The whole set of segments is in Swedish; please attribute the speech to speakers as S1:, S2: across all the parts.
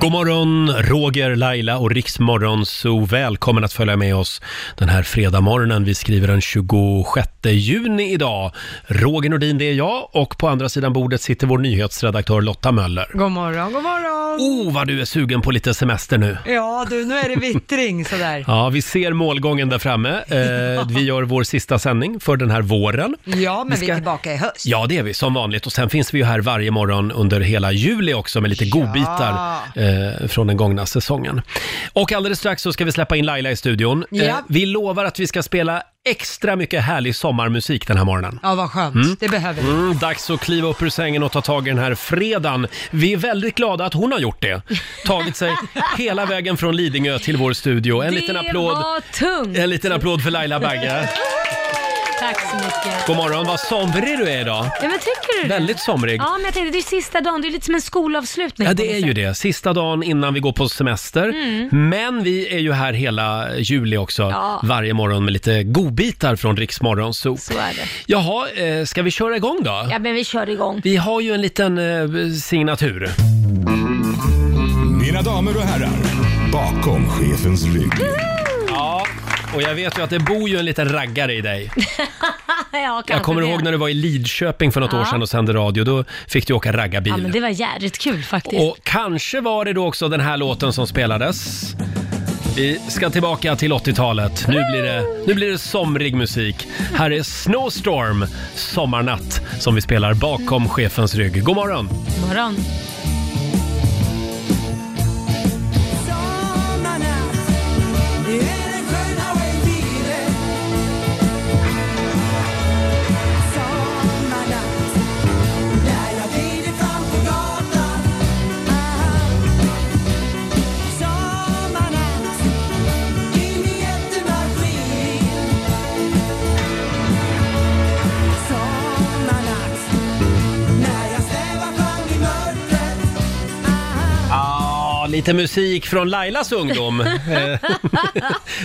S1: God morgon, Roger, Laila och Riksmorgon så Välkommen att följa med oss den här fredagmorgonen. Vi skriver den 26 juni idag. Roger Nordin, det är jag och på andra sidan bordet sitter vår nyhetsredaktör Lotta Möller.
S2: God morgon, god morgon.
S1: Oh, vad du är sugen på lite semester nu.
S2: Ja du, nu är det vittring sådär.
S1: Ja, vi ser målgången där framme. Eh, vi gör vår sista sändning för den här våren.
S2: Ja, men
S1: Vi
S2: vi,
S1: ska-
S2: är tillbaka i höst.
S1: Ja, det är vi som vanligt. Och sen finns vi ju här varje morgon under hela juli också med lite godbitar eh, från den gångna säsongen. Och alldeles strax så ska vi släppa in Laila i studion. Eh,
S2: Ja.
S1: vi lovar att vi ska spela extra mycket härlig sommarmusik den här morgonen.
S2: Ja, vad skönt. Det behöver vi.
S1: Mm, dags att kliva upp ur sängen och ta tag i den här fredagen. Vi är väldigt glada att hon har gjort det. Tagit sig hela vägen från Lidingö till vår studio. En liten applåd,
S3: Det var tungt.
S1: en liten applåd för Laila Bagge.
S3: Tack så mycket.
S1: God morgon, vad somrig du är idag.
S3: Ja, men tycker
S2: Mm.
S3: du det?
S1: Väldigt somrig.
S3: Ja, men jag tänkte det är sista dagen, det är lite som en skolavslutning.
S1: Ja,
S3: på
S1: det
S3: något
S1: är ju
S3: sätt.
S1: det. Sista dagen innan vi går på semester. Men vi är ju här hela juli också.
S3: Mm. Ja.
S1: Varje morgon med lite godbitar från Rix Morgon Zoo.
S3: Så är det.
S1: Jaha, eh, ska vi köra igång då?
S3: Ja, men vi kör igång.
S1: Vi har ju en liten eh, signatur.
S4: Mina damer och herrar, bakom chefens rygg.
S1: Ja, och jag vet ju att det bor ju en liten raggare i dig.
S3: Ja,
S1: Jag kommer ihåg när du var i Lidköping för något år
S3: Ja.
S1: sedan och sände radio. Då fick du åka raggarbil.
S3: Ja, men det var jävligt kul faktiskt.
S1: Och kanske var det då också den här låten som spelades. Vi ska tillbaka till 80-talet. Nu blir det, nu blir det somrig musik. Här är Snowstorm, Sommarnatt, som vi spelar bakom chefens rygg. God morgon!
S3: God morgon.
S1: Ah, lite musik från Lailas ungdom. Eh,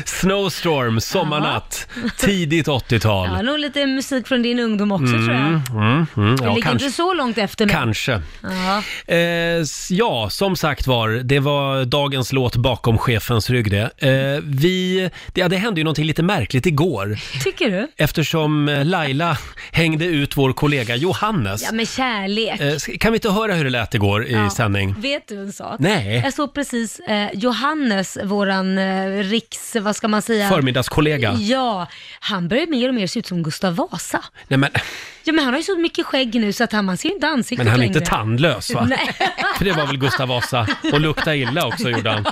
S1: Snowstorm, Sommarnatt, tidigt 80-tal.
S3: Ja, nog lite musik från din ungdom också tror jag.
S1: Mm, mm,
S3: Vi
S1: ja,
S3: ligger
S1: kanske.
S3: inte så långt efter men...
S1: Kanske.
S3: Ja.
S1: Eh, s- ja, som sagt var, det var dagens låt bakom chefens rygg det. Eh, vi, det, ja, det hände ju någonting lite märkligt igår
S3: Tycker du?
S1: eftersom eh, Laila hängde ut vår kollega Johannes.
S3: Ja, men kärlek.
S1: Eh, s- kan vi inte höra hur det lät igår i
S3: Ja.
S1: sändning?
S3: Vet du en sak?
S1: Nej.
S3: Jag såg precis eh, Johannes, våran eh, riks... Vad ska man säga?
S1: Förmiddagskollega.
S3: Ja, han börjar mer och mer se ut som Gustav Vasa.
S1: Nej, men,
S3: Ja, men han har ju så mycket skägg nu så att han, man ser ju inte ansiktet
S1: men han är
S3: längre.
S1: inte tandlös va?
S3: Nej.
S1: För det var väl Gustav Vasa och lukta illa också gjorde han.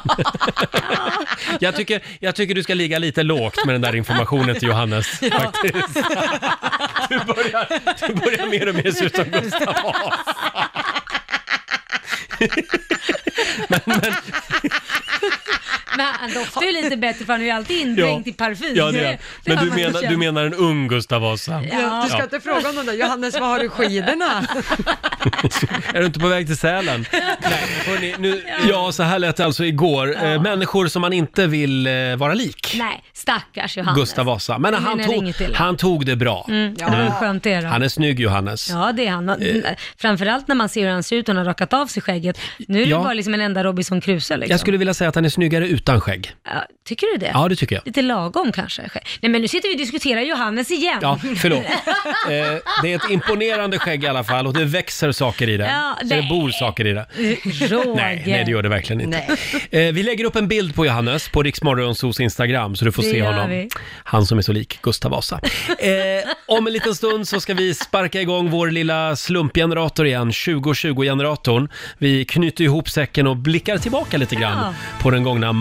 S1: jag, tycker, jag tycker du ska ligga lite lågt med den där informationen till Johannes faktiskt. Du börjar, du börjar mer och mer se ut som Gustav Vasa.
S3: Men han doftar ju lite bättre för han är ju alltid indränkt i parfym.
S1: Ja, det är. Men
S3: har
S1: du
S3: man ju
S1: menar,
S3: känt.
S1: du menar en ung Gustav Vasa?
S2: Du
S3: Ja.
S2: ska inte fråga om de där, Johannes, var har du skidorna?
S1: Är du inte på väg till Sälen? Nej, hörni, nu, ja, så här lät det alltså igår. Eh, människor som man inte vill eh, vara lik.
S3: Nej, stackars Johannes.
S1: Gustav Vasa. Men
S3: Jag
S1: han
S3: menar
S1: tog,
S3: inget till.
S1: han tog det bra.
S3: Mm, ja, det var skönt det då.
S1: Han är Eh. snygg Johannes.
S3: Ja, det är han. Framförallt när man ser hur han ser ut och han har rakat av sig skägget. Nu är det
S1: Ja.
S3: bara liksom en enda Robinson Crusoe liksom.
S1: Jag skulle vilja säga att han är snyggare utan skägg.
S3: ja, tycker du det?
S1: Ja, det tycker jag.
S3: Lite lagom kanske. Nej, men nu sitter vi och diskuterar Johannes igen.
S1: Ja, förlåt. Eh, det är ett imponerande skägg i alla fall och det växer saker i det.
S3: Ja,
S1: så det
S3: nej.
S1: bor saker i det.
S3: Roger.
S1: Nej, nej, det gör det verkligen inte. Eh, vi lägger upp en bild på Johannes på Riksmorgonsos Instagram så du får
S3: Det
S1: se
S3: gör
S1: honom.
S3: vi.
S1: Han som är så lik Gustav Vasa. Eh, om en liten stund så ska vi sparka igång vår lilla slumpgenerator igen, 2020-generatorn. Vi knyter ihop säcken och blickar tillbaka lite grann
S3: Ja.
S1: på den gångna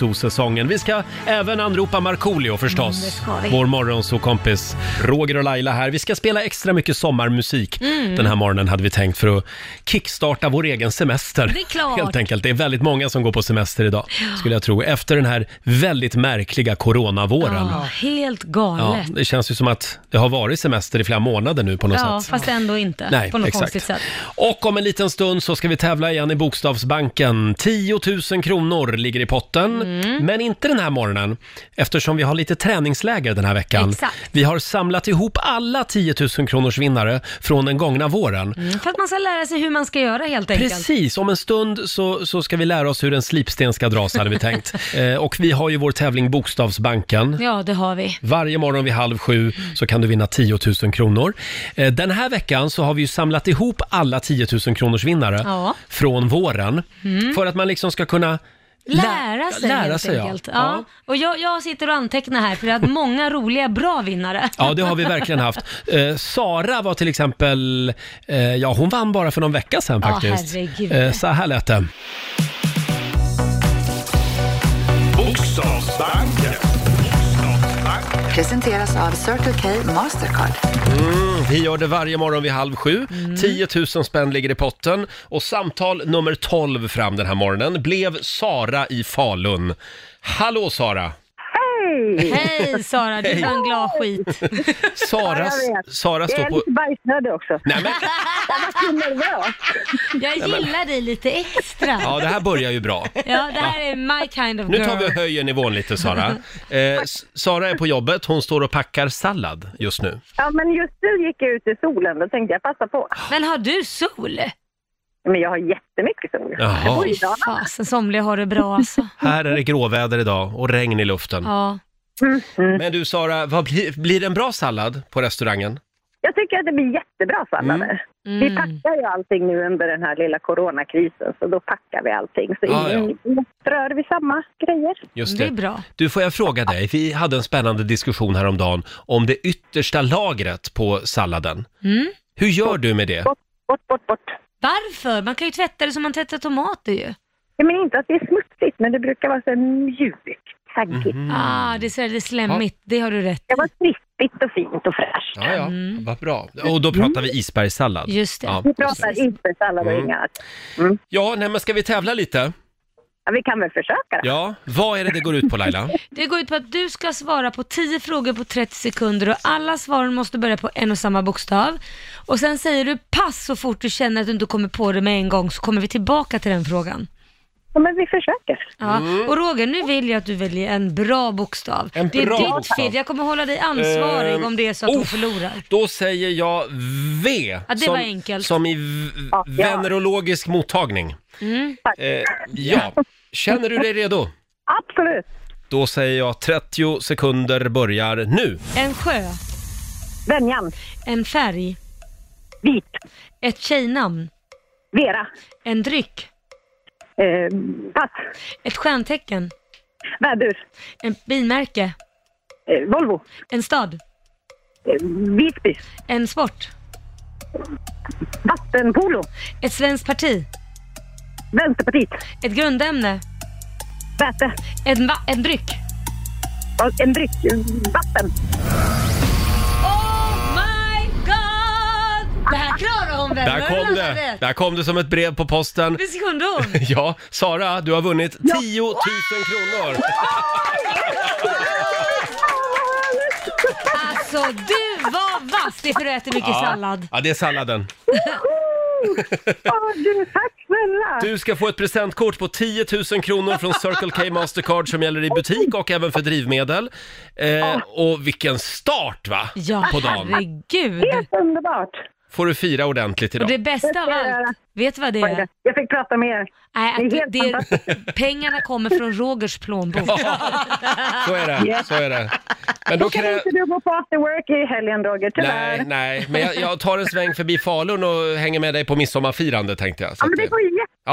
S1: morgonsosäsongen. Vi ska även anropa Markoolio
S3: Mm, det
S1: förstås,
S3: ska vi.
S1: vår morgonsokompis Roger och Laila här. Vi ska spela extra mycket sommarmusik
S3: Mm.
S1: den här morgonen hade vi tänkt för att kickstarta vår egen semester.
S3: Det är klart.
S1: Helt enkelt. Det är väldigt många som går på semester idag, skulle jag tro, efter den här väldigt märkliga coronavåren.
S3: Ja, helt
S1: Ja,
S3: galet.
S1: det känns ju som att det har varit semester i flera månader nu på något
S3: Ja,
S1: sätt.
S3: fast ändå inte.
S1: Nej,
S3: på något
S1: exakt.
S3: konstigt sätt.
S1: Och om en liten stund så ska vi tävla igen i Bokstavsbanken. 10 000 kronor ligger i potten. låten,
S3: Mm.
S1: men inte den här morgonen eftersom vi har lite träningsläger den här veckan.
S3: Exakt.
S1: Vi har samlat ihop alla 10 000 kronors vinnare från den gångna våren.
S3: Mm, För att man ska lära sig hur man ska göra helt enkelt.
S1: Precis, om en stund så, så ska vi lära oss hur en slipsten ska dras hade vi tänkt. Eh, och vi har ju vår tävling Bokstavsbanken.
S3: Ja, det har vi.
S1: Varje morgon vid halv sju så kan du vinna 10 000 kronor. Eh, Den här veckan så har vi ju samlat ihop alla 10 000 kronors vinnare
S3: Ja. Mm.
S1: från våren. För att man liksom ska kunna lä-
S3: Lära sig
S1: lära
S3: helt
S1: sig ja.
S3: enkelt. Ja.
S1: Ja.
S3: Och jag, jag sitter och antecknar här för vi har haft många roliga, bra vinnare.
S1: Ja, det har vi verkligen haft. Eh, Sara var till exempel, eh, ja hon vann bara för någon vecka sedan
S3: Ja,
S1: faktiskt.
S3: herregud.
S1: Eh, så här lät det.
S4: Bokstavsbanken.
S5: Presenteras av Circle K Mastercard.
S1: Mm, Vi gör det varje morgon vid halv sju. 10 000 spänn ligger i potten. Och samtal nummer 12 fram den här morgonen blev Sara i Falun. Hallå Sara!
S6: Hej!
S3: Hej Sara, du var en glad skit.
S1: Sara,
S6: jag
S1: Sara
S6: Jag
S1: står
S6: är
S1: på...
S6: lite bajsnödig också.
S1: Nej, men,
S6: Jag är nervös.
S3: Jag gillar dig lite extra.
S1: ja, det här börjar ju bra.
S3: Ja, det här är my kind of
S1: Nu tar
S3: girl.
S1: vi och höjer nivån lite Sara. Eh, S- Sara är på jobbet, hon står och packar sallad just nu.
S6: Ja, men just nu gick jag ut i solen. Då tänkte jag passa på.
S3: Men har du sol?
S6: Men jag har jättemycket sol.
S1: Jaha. Mm.
S3: Fy fasen, somliga har det bra alltså.
S1: Här är det gråväder idag och regn i luften.
S3: Ja.
S6: Mm.
S1: Men du Sara, vad blir, blir det en bra sallad på restaurangen?
S6: Jag tycker att det blir jättebra sallader. Vi
S3: Mm.
S6: packar ju allting nu under den här lilla coronakrisen, så då packar vi allting. Så
S1: Ja, ja.
S6: ingen rör vi samma grejer.
S1: Just
S3: Det är bra.
S1: Du, får jag fråga dig? Vi hade en spännande diskussion häromdagen om det yttersta lagret på salladen.
S3: Mm.
S1: Hur gör du med det?
S6: Bort, bort, bort, bort.
S3: Varför? Man kan ju tvätta det som man tvättar tomater ju.
S6: Jag menar inte att det är smutsigt, men det brukar vara så mjukt, saggigt.
S1: Mhm. Mm.
S3: Ah, det är så det är slemmigt. Det har du rätt
S6: Det var krispigt och fint och fräscht.
S1: Ja, ja, vad bra. Och då pratar vi isbergssallad.
S3: Mm. Just det.
S1: Ja,
S6: Vi pratar inte sallad och inga annat.
S1: ja nej, men ska vi tävla lite?
S6: Ja, vi kan väl försöka då.
S1: Ja, vad är det det går ut på Laila?
S3: Det går ut på att du ska svara på 10 frågor på 30 sekunder och alla svaren måste börja på en och samma bokstav. Och sen säger du pass så fort du känner att du inte kommer på det med en gång så kommer vi tillbaka till den frågan.
S6: Ja, men vi försöker.
S3: Ja. Och Roger, nu vill jag att du väljer en bra bokstav.
S1: En
S3: det är
S1: bra
S3: ditt
S1: bokstav.
S3: fel, jag kommer hålla dig ansvarig
S1: Ehm,
S3: om det är så att du
S1: uff.
S3: förlorar.
S1: Då säger jag V.
S3: Ja, det
S1: som,
S3: var enkelt.
S1: Som i v-
S6: Ja.
S1: venerologisk mottagning.
S3: Mm.
S1: Eh, ja, känner du dig redo?
S6: Absolut.
S1: Då säger jag 30 sekunder börjar nu.
S3: En sjö,
S6: Venjan.
S3: en färg,
S6: Vit.
S3: ett tjejnamn,
S6: Vera.
S3: en dryck,
S6: Eh, pass.
S3: ett stjärntecken,
S6: Vädur.
S3: ett bilmärke,
S6: Eh, Volvo.
S3: en stad,
S6: Eh, Visby.
S3: en sport,
S6: Vattenpolo.
S3: ett svenskt parti,
S6: Vänsterpartiet.
S3: ett grundämne,
S6: Väte.
S3: En, va- en dryck.
S6: Och En dryck. Vatten.
S3: Oh my god! Det här klarar hon väl?
S1: Där kom det! Där kom det som ett brev på posten.
S3: Visst kunde hon?
S1: Ja, Sara, du har vunnit 10 000 kronor!
S3: Alltså du var vass! Det är för att du äter mycket sallad.
S1: Ja, det är salladen.
S6: Åh, du, tack snälla.
S1: Du ska få ett presentkort på 10 000 kronor från Circle K Mastercard som gäller i butik och även för drivmedel. Eh, och vilken start va!
S3: Ja,
S1: På dagen.
S3: herregud.
S6: Helt underbart.
S1: Får du fira ordentligt
S3: Och det
S1: idag.
S3: bästa av allt, vet du vad det är?
S6: Jag fick prata med er.
S3: Nej, att
S6: Det är
S3: det,
S6: helt
S3: det, pengarna kommer från Rogers plånbok.
S1: Så är det, så är det. Men då
S6: Då kan
S1: krä...
S6: inte du gå på after work i helgen, Roger. Tyvärr.
S1: Nej, nej, men jag, jag tar en sväng förbi Falun och hänger med dig på midsommarfirande tänkte jag. Så
S6: Ja, men
S1: att,
S6: det
S1: eh,
S6: går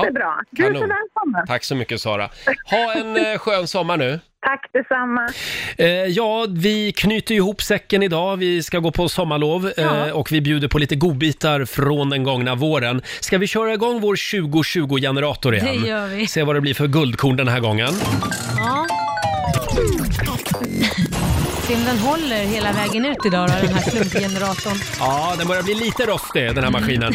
S6: jättebra.
S1: Ja,
S6: du är så
S1: kanon.
S6: välkommen.
S1: Tack så mycket Sara. Ha en eh, skön sommar nu.
S6: Tack detsamma.
S1: Eh, ja, vi knyter ihop säcken idag. Vi ska gå på sommarlov eh, och vi bjuder på lite godbitar från den gångna våren. Ska vi köra igång vår 2020-generator igen?
S3: Det gör vi.
S1: Se vad det blir för guldkorn den här gången.
S3: Ja. Se om den håller hela vägen ut idag då, den här klumpgeneratorn.
S1: Ja, den börjar bli lite rostig den här maskinen.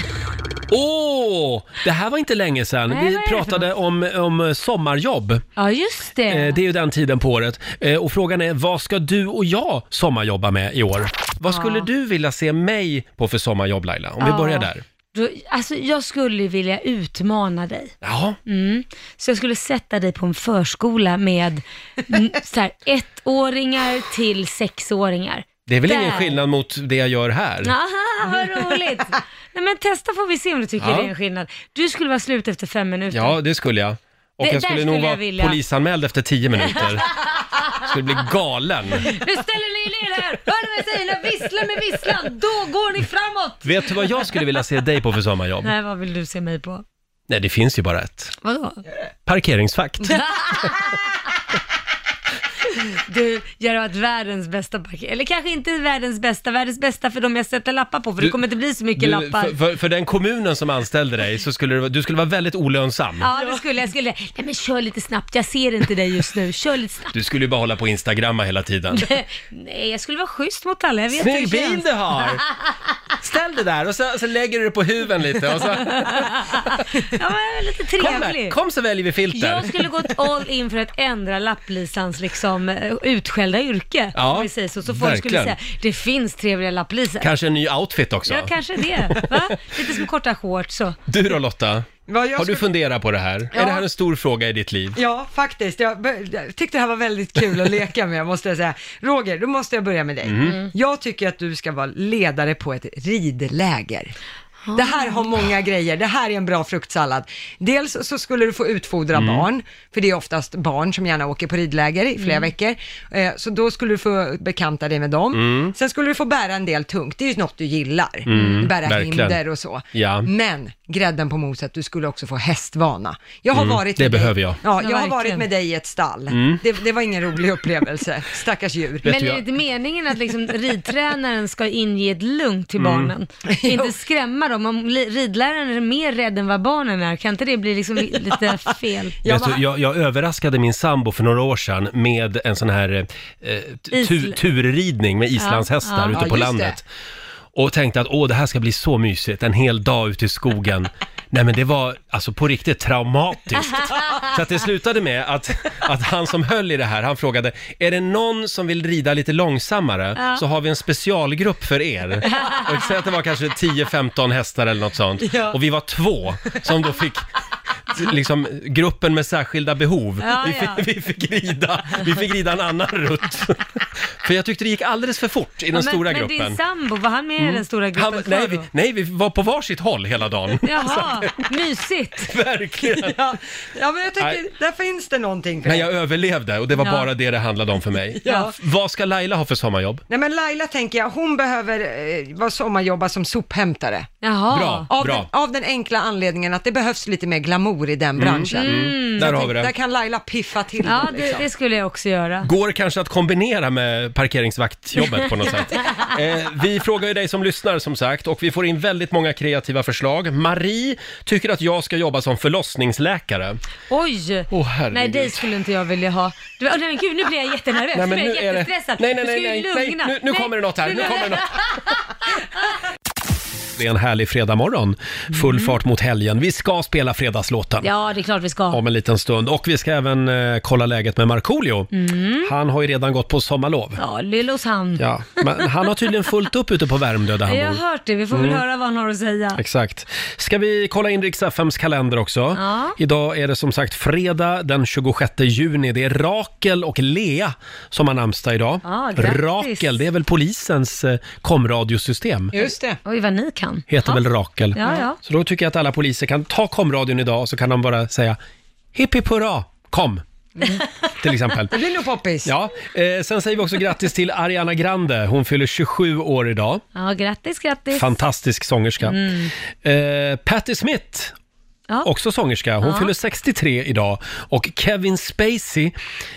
S1: Åh, det här var inte länge sedan.
S3: Nej,
S1: Vi
S3: vad är det för
S1: pratade om, om sommarjobb.
S3: Ja, just det.
S1: Eh, det är ju den tiden på året. Eh, och frågan är, vad ska du och jag sommarjobba med i år? Vad skulle du vilja se mig på för sommarjobb Laila? Om vi
S3: Ja.
S1: börjar där.
S3: Då, alltså jag skulle vilja utmana dig.
S1: Ja.
S3: Mm. Så jag skulle sätta dig på en förskola med n- så här, ettåringar till sexåringar.
S1: Det är väl ingen
S3: Där.
S1: skillnad mot det jag gör här?
S3: Aha, vad roligt! Nej men testa får vi se om du tycker
S1: Ja.
S3: det är en skillnad. Du skulle vara slut efter fem minuter.
S1: Ja, det skulle jag. Och
S3: Det-
S1: jag
S3: där
S1: skulle
S3: skulle
S1: nog
S3: jag
S1: vara
S3: vilja.
S1: polisanmäld efter tio minuter. skulle bli galen.
S3: Nu ställer ni er ner här! Hör ni vad jag säger? När jag visslar med visslan, då går ni framåt!
S1: Vet du vad jag skulle vilja se dig på för sommarjobb?
S3: Nej, vad vill du se mig på?
S1: Nej, det finns ju bara ett.
S3: Vadå? Mm,
S1: Parkeringsvakt.
S3: Du, jag har varit världens bästa parkering. Eller kanske inte världens bästa, världens bästa för de jag sätter lappar på, för
S1: Du-
S3: det kommer inte bli så mycket
S1: Du,
S3: lappar.
S1: för, för, för den kommunen som anställde dig så skulle du, du skulle vara väldigt olönsam.
S3: Ja, det skulle jag. jag Skulle. Nej, men kör lite snabbt. Jag ser inte dig just nu. Kör lite snabbt.
S1: Du skulle ju bara hålla på och instagramma hela tiden.
S3: Nej, jag skulle vara schysst mot alla. Jag vet hur
S1: Snygg
S3: det
S1: bil
S3: känns.
S1: du har! Ställ dig där och så, så lägger du dig på huven lite och så,
S3: Ja, men lite
S1: kom, där,
S3: trevlig.
S1: kom så väljer vi filter.
S3: Jag skulle gått all in för att ändra lapplisans liksom eh, utskällda yrke.
S1: Ja,
S3: om vi säger så. Så folk
S1: verkligen.
S3: skulle säga, det finns trevliga lapplisor.
S1: Kanske en ny outfit också.
S3: Ja, kanske det. Va? Lite som korta shorts så.
S1: Du då Lotta?
S2: Vad jag
S1: Har du
S2: skulle-
S1: funderat på det här? Är
S2: Ja.
S1: det här en stor fråga i ditt liv?
S2: Ja, faktiskt. Jag, be- jag tyckte det här var väldigt kul att leka med, måste jag säga. Roger, då måste jag börja med dig.
S1: Mm.
S2: Jag tycker att du ska vara ledare på ett ridläger. Det här har många grejer. Det här är en bra fruktsallad. Dels så skulle du få utfodra
S1: Mm.
S2: barn, för det är oftast barn som gärna åker på ridläger i flera veckor. Eh, Så då skulle du få bekanta dig med dem.
S1: Mm.
S2: Sen skulle du få bära en del tungt. Det är ju något du gillar. Bära
S1: verkligen.
S2: hinder och så.
S1: Ja.
S2: Men grädden på moset, du skulle också få hästvana. Jag har varit
S1: Mm, det
S2: med dig-
S1: behöver jag. Mm.
S2: Ja,
S3: Ja,
S2: jag har varit
S3: verkligen.
S2: med dig i ett stall. Det, det var ingen rolig upplevelse. Stackars djur.
S1: Vet
S3: Men
S1: du,
S3: är det
S1: Typ, jag-
S3: inte meningen att liksom ridtränaren ska inge ett lugn till
S1: Mm.
S3: barnen? Inte skrämma dem. Om li- ridläraren är mer rädd än vad barnen är, kan inte det bli liksom li- lite fel?
S2: Ja,
S1: Vet
S2: men
S1: du, jag, jag överraskade min sambo för några år sedan med en sån här eh, tu,
S3: Isl-
S1: turridning med islandshästar
S3: ja.
S1: ute
S2: Ja,
S1: på
S2: just
S1: landet. Och tänkte att åh, det här ska bli så mysigt, en hel dag ute i skogen. Nej men det var alltså på riktigt traumatiskt. Så att det slutade med att, att han som höll i det här, han frågade, är det någon som vill rida lite långsammare så har vi en specialgrupp för er. Och säg att det var kanske 10-15 hästar eller något sånt.
S2: Ja.
S1: Och vi var två som då fick liksom gruppen med särskilda behov.
S3: Ja,
S1: vi, fick,
S3: ja.
S1: vi, fick rida, vi fick rida en annan rutt. För jag tyckte det gick alldeles för fort i den
S3: Ja, men,
S1: stora
S3: men
S1: gruppen. Mm.
S3: din sambo, var han med i den stora gruppen
S1: Han,
S3: kvar
S1: nej, vi,
S3: då?
S1: nej, vi var på varsitt håll hela dagen.
S3: Jaha, mysigt.
S1: Verkligen.
S2: Ja, ja men jag
S1: Nej.
S2: tycker, där finns det någonting för
S1: Men
S2: dig.
S1: jag överlevde och det var
S3: Ja.
S1: bara det det handlade om för mig.
S2: Ja.
S1: Vad ska Laila ha för sommarjobb?
S2: Nej men Laila tänker jag, hon behöver eh, vara sommarjobba som sophämtare.
S3: Jaha.
S1: Bra.
S2: Av den, av den enkla anledningen att det behövs lite mer glamour i den branschen.
S1: Mm. Där har vi
S2: Där
S1: det.
S2: kan Laila piffa till
S3: Mm. Ja,
S2: den,
S3: det,
S2: liksom.
S3: det skulle jag också göra.
S1: Går kanske att kombinera med parkeringsvaktjobbet på något sätt. Eh, vi frågar ju dig som lyssnar som sagt och vi får in väldigt många kreativa förslag. Marie tycker att jag ska jobba som förlossningsläkare.
S3: Oj!
S1: Åh, herregud.
S3: nej, dig skulle inte jag vilja ha. Du, åh, nej, gud, nu blir jag jättenervös.
S1: Nej,
S3: Nej,
S1: men
S3: nu
S1: nu
S3: blir
S1: är
S3: jag
S1: det-
S3: jättestressad.
S1: Nej, nej,
S3: Du ska
S1: nej,
S3: ju
S1: nej, nej,
S3: lugna.
S1: nu- nu kommer det något här, nu kommer det något. Det är en härlig fredagmorgon. Full fart mot helgen. Vi ska spela fredagslåten.
S3: Mm. Ja, det är klart vi ska.
S1: om en liten stund. Och vi ska även eh, kolla läget med Markoolio. Han har ju redan gått på sommarlov.
S3: Mm. Ja, Lilloshamn.
S1: Ja, men han har tydligen fullt upp ute på Värmdö där han
S3: Jag har
S1: bor.
S3: hört det, vi får väl
S1: Mm.
S3: höra vad han har att säga.
S1: Exakt. Ska vi kolla in riks FMs kalender också?
S3: Ja.
S1: Idag är det som sagt fredag den 26 juni. Det är Rakel och Lea som har namnsdag idag.
S3: Ja, grattis.
S1: Rakel, det är väl polisens eh, komradiosystem?
S2: Just det.
S3: Oj, vad ni kan.
S1: Heter väl Rakel?
S3: Ja, ja.
S1: Så då tycker jag att alla poliser kan ta komradion idag så kan de bara säga hipp hipp hurra, kom! Till exempel.
S2: Det blir nog poppis.
S1: Ja, eh, sen säger vi också grattis till Ariana Grande. Hon fyller 27 år idag.
S3: Ja, grattis, grattis. Mm.
S1: Fantastisk sångerska. Eh, Patti Smith,
S3: Ja.
S1: också sångerska. Hon fyller 63 idag. Och Kevin Spacey,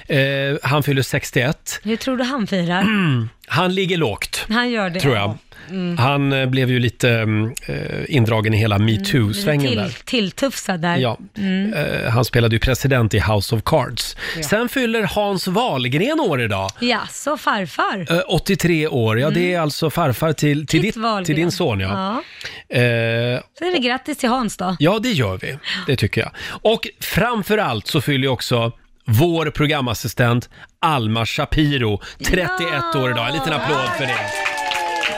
S1: eh, han fyller 61.
S3: Hur tror du han firar?
S1: Han ligger lågt,
S3: Han gör Mm. det. Mm.
S1: tror jag. Han eh, blev ju lite mm, eh, indragen i hela metoo-svängen
S3: Till,
S1: där.
S3: tilltufsad där. Mm.
S1: Ja, eh, han spelade ju president i House of Cards. Sen fyller Hans Wahlgren år idag.
S3: Ja, så farfar.
S1: Eh, 83 år, ja det är alltså farfar till, till,
S3: Titt
S1: ditt,
S3: Mm. Wahlgren.
S1: till din son. Ja.
S3: ja.
S1: Eh,
S3: Så är det grattis till Hans då.
S1: ja, det gör vi. Det tycker jag. Och framför allt så fyller ju också vår programassistent Alma Shapiro 31 år idag. En liten applåd för det.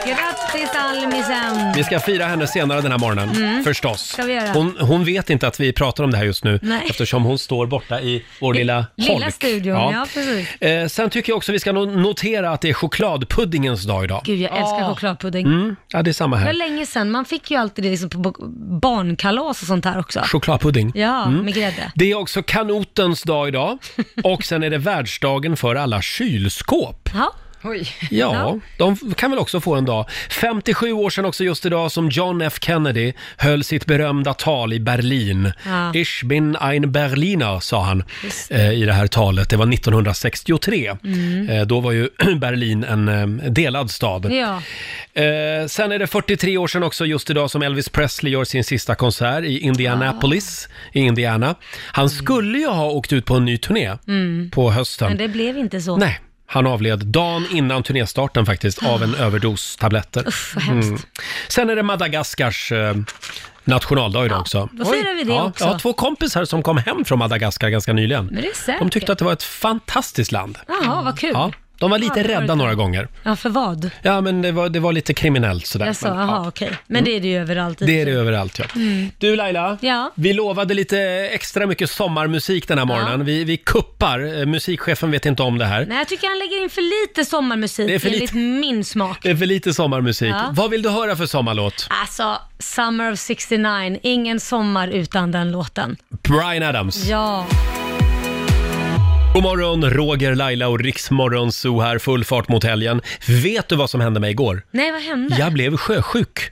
S3: Grattis Almisen!
S1: Vi ska fira henne senare den här morgonen, förstås.
S3: Mm. Ska vi göra.
S1: Hon, hon vet inte att vi pratar om det här just nu,
S3: Nej.
S1: eftersom hon står borta i vår
S3: I-
S1: lilla
S3: lilla
S1: holk.
S3: studion, ja, precis.
S1: Eh, sen tycker jag också vi ska no- notera att det är chokladpuddingens dag idag.
S3: Gud, jag älskar chokladpudding.
S1: Mm, ja, det är samma
S3: Det var
S1: här.
S3: länge sedan, man fick ju alltid det liksom på bo- barnkalas och sånt här också.
S1: Chokladpudding. Mm.
S3: Ja, med grädde.
S1: Det är också kanotens dag idag och sen är det världsdagen för alla kylskåp.
S3: Ja.
S2: Oj.
S1: Ja,
S3: Ja.
S1: de kan väl också få en dag. 57 år sedan också just idag som John F Kennedy höll sitt berömda tal i Berlin.
S3: Ja.
S1: Ich bin ein Berliner, sa han eh, i det här talet. Det var 1963. Eh, då var ju Berlin en eh, delad stad.
S3: Mm. ja.
S1: Eh, sen är det 43 år sedan också just idag som Elvis Presley gör sin sista konsert i Indianapolis i Indiana. Han skulle ju ha åkt ut på en ny turné på hösten.
S3: Mm. Men det blev inte så.
S1: Nej, han avled dagen innan turnéstarten faktiskt av en överdos tabletter. Mm.
S3: Uff, vad hemskt.
S1: Sen är det Madagaskars eh, nationaldag idag också.
S3: då firar vi det
S1: ja,
S3: också.
S1: Jag har två kompisar som kom hem från Madagaskar ganska nyligen.
S3: Men det är säkert.
S1: De tyckte att det var ett fantastiskt land.
S3: Jaha, vad kul.
S1: Ja, de var lite
S3: Ja, det var
S1: rädda
S3: det.
S1: några gånger.
S3: Ja, för vad?
S1: Ja, men det var, det var lite kriminellt sådär.
S3: Jag sa,
S1: Men, ja. Mm.
S3: jaha, okej. Men det är det ju överallt. i
S1: Det är det
S3: och för sig.
S1: överallt ja. Du Laila,
S3: Typ. Ja.
S1: vi lovade lite extra mycket sommarmusik den här morgonen. Vi, vi kuppar, Eh, musikchefen vet inte om det här.
S3: Nej, jag tycker han lägger in för lite sommarmusik
S1: Det är för
S3: enligt
S1: lite.
S3: min smak.
S1: Det är för lite sommarmusik.
S3: Ja.
S1: Vad vill du höra för sommarlåt?
S3: Alltså, Summer of 69, ingen sommar utan den låten.
S1: Brian Adams.
S3: Ja,
S1: God morgon, Roger, Laila och Riksmorgon Zoo här, full fart mot helgen. Vet du vad som hände mig igår?
S3: nej vad hände?
S1: Jag blev sjösjuk.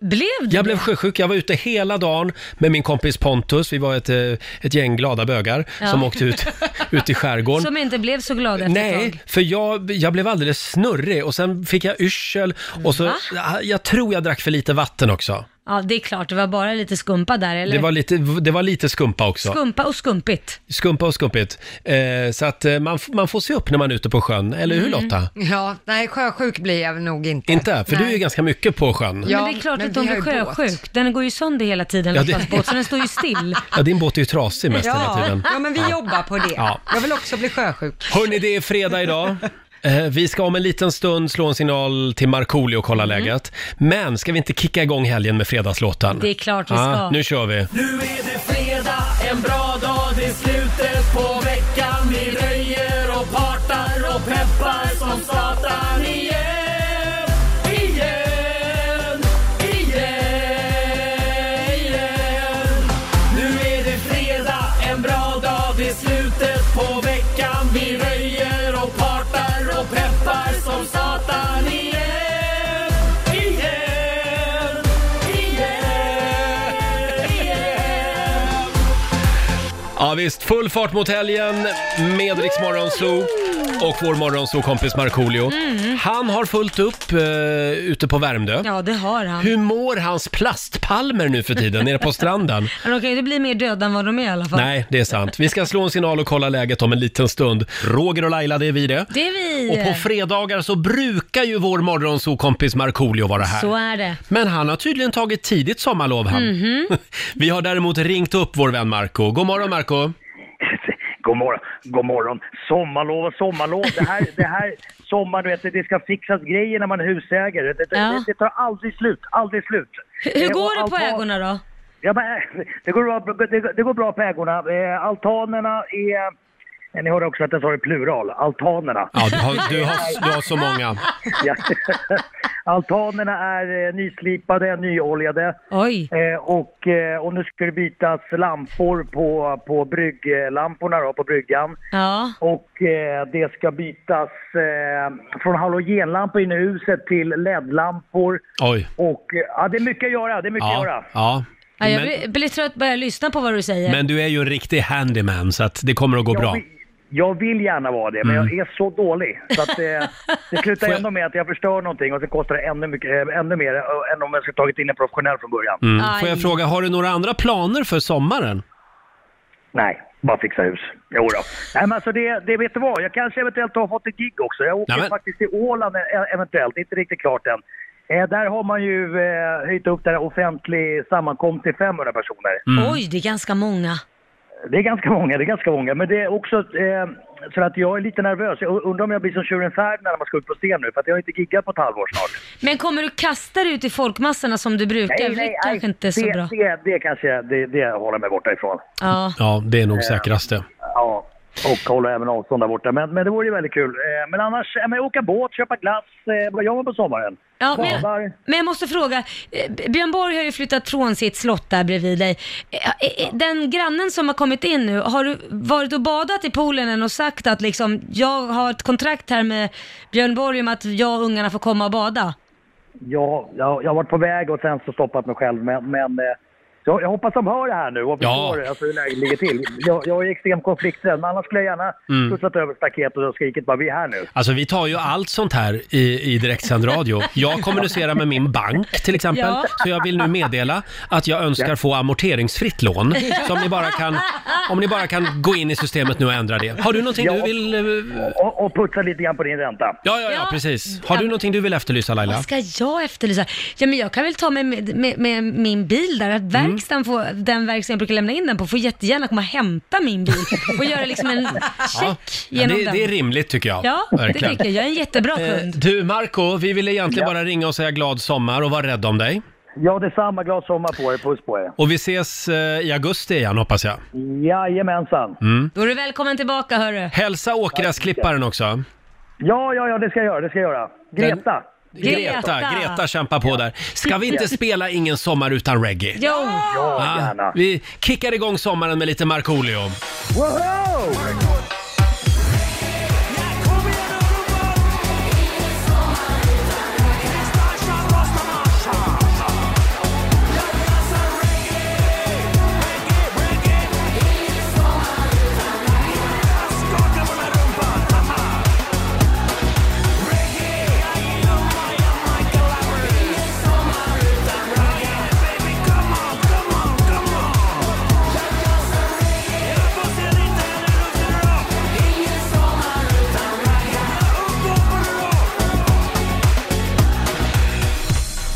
S3: Blev du
S1: Jag blev sjösjuk, jag var ute hela dagen med min kompis Pontus. Vi var ett, eh, ett gäng glada bögar
S3: Ja.
S1: som åkte ut, ut i skärgården.
S3: Som inte blev så glad efter ett
S1: Nej,
S3: tag.
S1: för jag, jag blev alldeles snurrig och sen fick jag yrsel och så, jag, jag tror jag drack för lite vatten också.
S3: Ja, det är klart, det var bara lite skumpa där, eller?
S1: Det var lite, det var lite skumpa också.
S3: Skumpa och skumpigt.
S1: Skumpa och skumpigt. Eh, så att eh, man, f- man får se upp när man är ute på sjön, eller hur
S3: Mm.
S1: Lotta?
S2: Ja, nej sjösjuk blir jag nog inte.
S1: Inte? För du är ju
S2: Nej.
S1: ganska mycket på sjön.
S2: Ja,
S3: men det är klart
S2: men
S3: att de
S2: vi har
S3: blir
S2: ju båt.
S3: sjösjuk. Den går ju sönder hela tiden,
S1: Ja,
S3: ja,
S1: det-
S3: båt, så den står ju still.
S1: Ja, din båt är ju trasig mest hela
S2: Ja,
S1: tiden.
S2: ja, men vi jobbar på det.
S1: Ja.
S2: Jag vill också bli sjösjuk.
S1: Hörni, det är fredag idag. Eh, Vi ska om en liten stund slå en signal till Markoolio och kolla
S3: Mm.
S1: läget. Men ska vi inte kicka igång helgen med fredagslåten?
S3: Det är klart vi ska.
S1: Ah, nu kör vi!
S7: Nu är det fredag, en bra dag, det är slutet på veckan. Vi röjer och partar och peppar som satan igen. Igen, igen, igen. Nu är det fredag, en bra dag, det är slutet på veckan. Vi röjer och partar och peppar som satan igen. Igen, igen, igen.
S1: Ja visst, full fart mot helgen med Rix Morgonzoo och vår morgonzoo-kompis Markoolio. Han har fullt upp uh, ute på Värmdö.
S3: Mm. Ja, det har han.
S1: Hur mår hans plastpalmer nu för tiden nere på stranden?
S3: Men de kan ju inte bli mer döda än vad de är i alla fall.
S1: Nej, det är sant. Vi ska slå en signal och kolla läget om en liten stund. Roger och Laila, det är vi det.
S3: Det är vi. eh,
S1: Och på fredagar så brukar ju vår morgonzoo-kompis Markoolio vara här.
S3: Så är Mm. det. Mhm.
S1: Men han har tydligen tagit tidigt sommarlov han. Vi har däremot ringt upp vår vän Marco. God morgon Marco!
S8: God morgon, god morgon. Sommarlov och sommarlov. Det här, det här sommar, du vet, det ska fixas grejer när man är husägare. Det, det,
S3: Ja.
S8: det, det tar aldrig slut, aldrig slut.
S3: Hur, hur
S8: Eh, och
S3: går det på
S8: altan-
S3: ägorna då?
S8: Ja, men, eh, det, går bra, det, det går bra på ägorna. Eh, Altanerna är... eh, Ni hörde också att jag sa det i plural, altanerna.
S1: Ja, du har, du har, du har så många.
S8: Ja. altanerna är eh, nyslipade, nyoljade.
S3: Oj.
S8: Eh, och, eh, och nu ska det bytas lampor på, på brygglamporna då, på bryggan.
S3: Ja.
S8: Och eh, det ska bytas eh, från halogenlampor inne i huset till LED-lampor.
S1: Oj.
S8: Och eh, ja, det är mycket att göra, det är mycket att
S1: Ja,
S8: göra.
S1: ja.
S3: ja jag
S1: Men,
S3: blir, blir trött bara jag lyssnar på vad du säger.
S1: men du är ju en riktig handyman så att det kommer att gå
S8: Jag
S1: bra.
S8: vill, jag vill gärna vara det,
S1: Mm.
S8: men jag är så dålig. Så att, eh, det slutar ändå med att jag förstör någonting och så kostar det ännu, mycket, eh, ännu mer eh, än om jag skulle tagit in en professionell från början.
S1: Mm. Får jag
S3: Aj.
S1: fråga, har du några andra planer för sommaren?
S8: Nej, bara fixa hus. Jo då. Nej, men alltså det, det vet du vad, jag kanske eventuellt har fått ett gig också. Jag åker
S1: Nej, men-
S8: faktiskt till Åland e- eventuellt, inte riktigt klart än. Eh, där har man ju
S1: Mm.
S8: eh, höjt upp den här offentlig sammankomst till 500 personer.
S3: Oj, det är ganska många.
S8: Det är ganska många, det är ganska många. Men det är också eh, så att jag är lite nervös. Jag undrar om jag blir som tjuren Ferdinand när man ska ut på scen nu, för att jag har inte giggat på ett halvår snart.
S3: Men kommer du kasta dig ut i folkmassorna som du brukar? det kanske inte är så
S8: det,
S3: bra.
S8: Det, det kanske jag- det, det jag håller mig borta ifrån.
S3: Ja.
S1: Ja, det
S8: Eh.
S1: är nog säkrast det.
S8: Ja, och håller även avstånd där borta. Men, men det vore ju väldigt kul. Eh, men annars, eh, men åka båt, köpa glass. Eh, vad gör man på sommaren?
S3: Ja, men, jag,
S8: Badar.
S3: men jag måste fråga, eh, Björn Borg har ju flyttat från sitt slott där bredvid dig. Eh, eh, eh, Den grannen som har kommit in nu, har du varit och badat i poolen än och sagt att liksom, jag har ett kontrakt här med Björn Borg om att jag och ungarna får komma och bada?
S8: Ja, jag, jag har varit på väg och sen så stoppat mig själv. Men, men eh, jag, jag hoppas de hör det här nu och
S1: Ja.
S8: förstår alltså, hur läget ligger till. Jag, jag är extremt konflikträdd, men annars skulle jag gärna
S1: Mm.
S8: skjutsat över staketet och skrikit bara vi är här nu.
S1: Alltså vi tar ju allt sånt här i, i direktsänd radio. Jag kommunicerar med min bank till exempel,
S3: Ja.
S1: så jag vill nu meddela att jag önskar få amorteringsfritt lån. Så om ni bara kan, om ni bara kan gå in i systemet nu och ändra det. Har du någonting du vill... eh,
S8: Och, och putsa lite grann på din ränta.
S1: Ja, ja, ja,
S3: Ja.
S1: precis. Har du någonting du vill efterlysa Laila?
S3: Vad ska jag efterlysa? Ja, men jag kan väl ta med, med, med, med min bil där, att
S1: Mm.
S3: verkstaden får, den verkstad jag brukar lämna in den på får jättegärna komma och hämta min bil och göra liksom en
S1: Ja,
S3: check
S1: Ja,
S3: genom
S1: det,
S3: den.
S1: det är rimligt tycker jag.
S3: Ja, det
S1: Verkligen.
S3: tycker jag. Jag är en jättebra
S1: Eh,
S3: kund.
S1: Du Marco, vi ville egentligen bara ringa och säga glad sommar och vara rädd om dig.
S8: Ja, det är samma glad sommar på er. Puss på er.
S1: Och vi ses eh, i augusti igen hoppas jag. Mm.
S8: Jajamensan.
S3: Då är du välkommen tillbaka hörru.
S1: Hälsa åkgräsklipparen också.
S8: Ja, ja, ja, det ska jag göra. Det ska jag göra. Greta.
S1: Greta,
S3: Greta.
S1: Greta kämpar på där. Ska vi inte spela Ingen sommar utan reggae?
S3: Jo,
S8: Ja,
S1: Ah,
S8: gärna.
S1: vi kickar igång sommaren med lite Markoolio.
S8: Woho!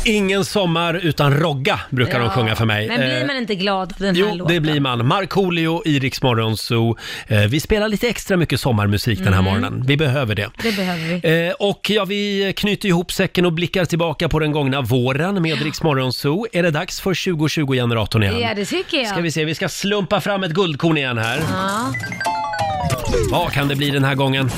S1: Ingen sommar utan rogga brukar de sjunga för mig.
S3: Men blir
S1: Eh,
S3: man inte glad av den här
S1: Jo,
S3: låten?
S1: det blir man. Markoolio i Rix Morgon Zoo. Eh, Vi spelar lite extra mycket sommarmusik den
S3: Mm.
S1: här morgonen. Vi behöver det.
S3: Det behöver vi.
S1: Eh, och ja, vi knyter ihop säcken och blickar tillbaka på den gångna våren med Rix Morgon Zoo. Är det dags för 2020-generatorn igen?
S3: Ja, det tycker jag.
S1: Ska vi se, vi ska slumpa fram ett guldkorn igen här.
S3: Ja.
S1: Vad kan det bli den här gången?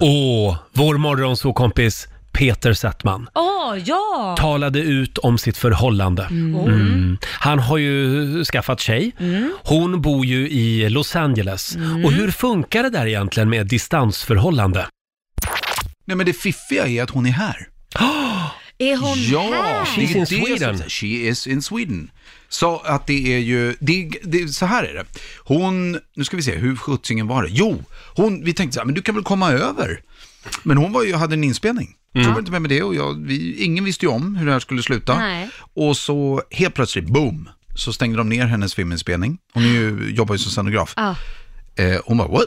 S1: Åh, vår morgonsåkompis Peter Settman
S3: Åh, ja!
S1: talade ut om sitt förhållande. Mm. Han har ju skaffat tjej.
S3: Mm.
S1: Hon bor ju i Los Angeles. Och hur funkar det där egentligen med distansförhållande?
S9: Nej men det fiffiga är att hon är här.
S3: Är hon
S9: Ja,
S3: här?
S9: det är
S1: She's in
S9: det som-
S1: Sweden.
S9: She is in Sweden. Så att det är ju, det, är- det, är- så här är det. Hon, nu ska vi se, hur sjuttsingen var det? Jo, hon, vi tänkte så här, men du kan väl komma över? Men hon var ju, hade en
S3: Mm.
S9: inspelning. Så var inte med med det och jag, vi, ingen visste ju om hur det här skulle sluta.
S3: Nej.
S9: Och så helt plötsligt, boom, så stängde de ner hennes filminspelning. Hon är ju, jobbar ju som scenograf.
S3: Ja.
S9: Eh, hon bara, what?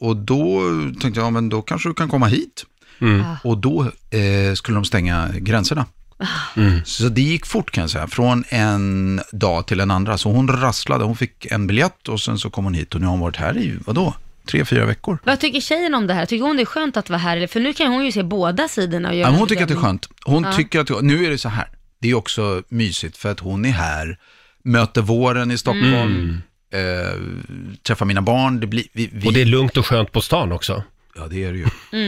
S9: Och då tänkte jag, ja, men då kanske du kan komma hit. Och då eh, skulle de stänga gränserna. Så det gick fort kan jag säga, från en dag till en andra. Så hon rasslade, hon fick en biljett och sen så kom hon hit och nu har hon varit här i, vadå, tre, fyra veckor.
S3: Vad tycker tjejen om det här? Tycker hon det är skönt att vara här? Eller- För nu kan hon ju se båda sidorna och göra
S9: Ja, men hon
S3: en
S9: tycker att det är
S3: bedömning.
S9: skönt. Hon tycker att det, nu är det så här, det är också mysigt för att hon är här, möter våren i Stockholm, eh, träffar mina barn, det blir, vi, vi,
S1: Och det är lugnt och skönt på stan också.
S9: Ja, det är det ju.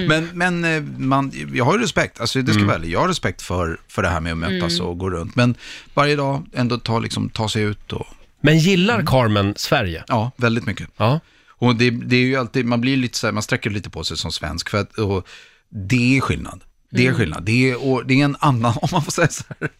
S9: Men, men eh, man, jag har ju respekt, alltså det ska mm. väl, jag har respekt för, för det här med att mötas och gå runt. Men varje dag ändå ta, liksom, ta sig ut och,
S1: Men gillar Carmen Sverige?
S9: ja, väldigt mycket.
S1: Ja.
S9: Och det, det är ju alltid, man blir lite så här, man sträcker lite på sig som svensk, för att, och det är skillnad. Det är skillnad. Det är, och, det är en annan, om man får säga så här,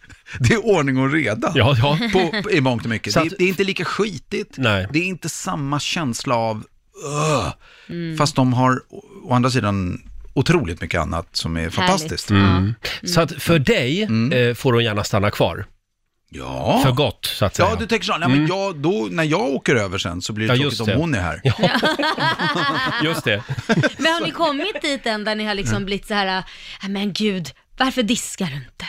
S9: det är ordning och reda.
S1: Ja, ja.
S9: På, på, I mångt och mycket.
S1: Så att-
S9: det, det är inte lika skitigt,
S1: Nej.
S9: det är inte samma känsla av "Ugh",
S7: Mm.
S3: Mm.
S9: Fast de har å, å andra sidan otroligt mycket annat som är fantastiskt.
S1: Mm.
S9: Mm.
S1: Så att för dig eh, får hon gärna stanna kvar.
S9: Ja.
S1: För gott, så att säga. Mm.
S9: Ja, du tänker så. Nej, men jag, då, när jag åker över sen så blir det
S1: Ja, just
S9: tråkigt om
S1: det.
S9: hon är här.
S1: Just det.
S3: Men har
S9: Mm.
S3: ni äh, kommit dit än där ni har liksom blivit så här, "Ah, men gud, varför diskar du inte?